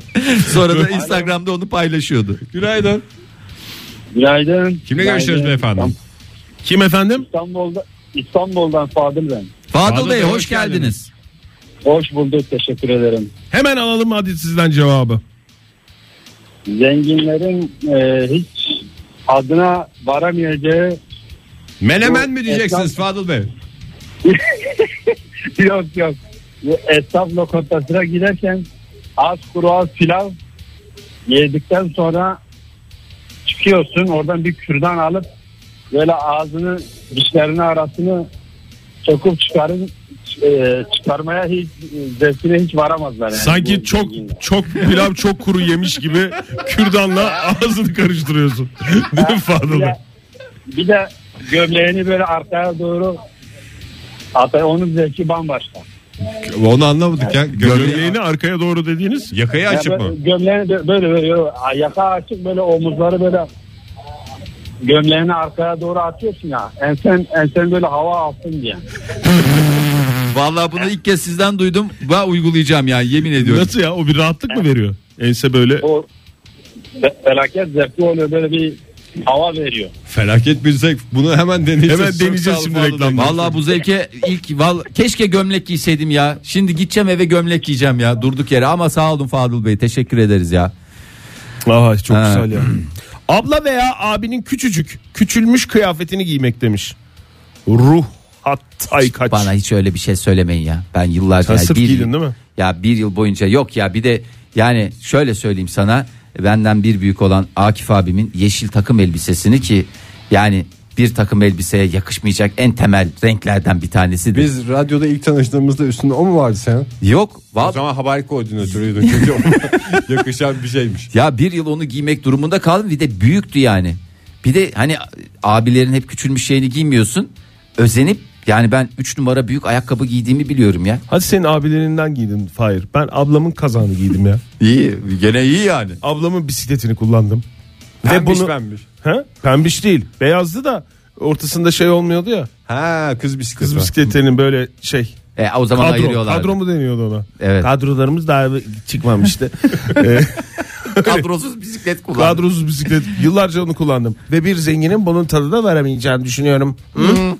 Speaker 4: Sonra da Instagram'da onu paylaşıyordu.
Speaker 3: Günaydın.
Speaker 10: Günaydın.
Speaker 3: Kimle görüşüyoruz beyefendi?
Speaker 5: Kim efendim?
Speaker 10: İstanbul'da, İstanbul'dan Fadıl ben.
Speaker 4: Fadıl Bey hoş geldiniz.
Speaker 10: Hoş bulduk teşekkür ederim.
Speaker 5: Hemen alalım hadi sizden cevabı.
Speaker 10: Zenginlerin e, hiç adına varamayacağı
Speaker 3: Menemen
Speaker 10: Bu
Speaker 3: mi diyeceksiniz Fadıl Bey?
Speaker 10: yok yok. Bu Esnaf lokantasına giderken az kuru az pilav yedikten sonra çıkıyorsun oradan bir kürdan alıp böyle ağzını dişlerini arasını sokup çıkarın e, çıkarmaya hiç e, zevkine hiç varamazlar. Yani
Speaker 5: Sanki
Speaker 10: Bu
Speaker 5: çok
Speaker 10: zenginler.
Speaker 5: çok pilav çok kuru yemiş gibi kürdanla ağzını karıştırıyorsun. Değil mi Fadıl
Speaker 10: bir
Speaker 5: Bey?
Speaker 10: de, bir de gömleğini böyle arkaya doğru Hatta onun zevki bambaşka.
Speaker 3: Onu anlamadık ya. Gömleğini
Speaker 5: Gömleğini arkaya doğru dediğiniz
Speaker 3: yakayı
Speaker 10: Ya
Speaker 3: açıp
Speaker 10: böyle
Speaker 3: mı?
Speaker 10: Gömleğini de- böyle böyle yo- yaka açık böyle omuzları böyle gömleğini arkaya doğru atıyorsun ya. Ensen ensen böyle hava alsın diye.
Speaker 4: Vallahi bunu ilk kez sizden duydum. Ben uygulayacağım yani yemin ediyorum.
Speaker 5: nasıl ya o bir rahatlık mı veriyor? Ense böyle
Speaker 10: O fe- felaket zevkli oluyor böyle bir hava veriyor.
Speaker 3: Felaket bir zevk. Bunu hemen deneyeceğiz.
Speaker 5: Hemen deneyeceğiz
Speaker 3: Çok
Speaker 5: şimdi
Speaker 3: sağ olun Fadıl Bey.
Speaker 5: reklamda.
Speaker 4: Vallahi bu zevke ilk val keşke gömlek giyseydim ya. Şimdi gideceğim eve gömlek giyeceğim ya durduk yere ama sağ olun Fadıl Bey teşekkür ederiz ya.
Speaker 5: Aa, çok güzel ya. Abla veya abinin küçücük, küçülmüş kıyafetini giymek demiş. Ruh hattay kaç.
Speaker 4: Bana hiç öyle bir şey söylemeyin ya. Ben yıllarca
Speaker 5: Sen
Speaker 4: yani
Speaker 5: sırf giydin değil mi?
Speaker 4: Ya bir yıl boyunca yok ya bir de yani şöyle söyleyeyim sana benden bir büyük olan Akif abimin yeşil takım elbisesini ki yani bir takım elbiseye yakışmayacak en temel renklerden bir tanesi.
Speaker 7: Biz radyoda ilk tanıştığımızda üstünde o mu vardı senin?
Speaker 4: Yok.
Speaker 7: O
Speaker 4: Vallahi
Speaker 7: zaman haber koordinatörüydün çünkü ona yakışan bir şeymiş.
Speaker 4: Ya bir yıl onu giymek durumunda kaldım. Bir de büyüktü yani. Bir de hani abilerin hep küçülmüş şeyini giymiyorsun. Özenip yani ben 3 numara büyük ayakkabı giydiğimi biliyorum ya.
Speaker 5: Hadi senin abilerinden giydin Fahir. Ben ablamın kazanı giydim ya.
Speaker 4: İyi gene iyi yani.
Speaker 5: Ablamın bisikletini kullandım.
Speaker 7: Pembiş
Speaker 5: bunu-
Speaker 7: pembiş.
Speaker 5: He? Pembiş değil. Beyazdı da ortasında şey olmuyordu ya.
Speaker 7: Ha kız bisikleti.
Speaker 5: Kız bisikletlerinin böyle şey
Speaker 4: E, o zaman
Speaker 5: kadro,
Speaker 4: ayırıyorlar.
Speaker 5: kadro mu deniyordu ona?
Speaker 4: Evet.
Speaker 5: Kadrolarımız daha çıkmamıştı. Ee,
Speaker 4: Kadrosuz bisiklet kullan.
Speaker 5: Kadrosuz bisiklet. Yıllarca onu kullandım. Ve bir zenginin bunun tadına veremeyeceğini düşünüyorum.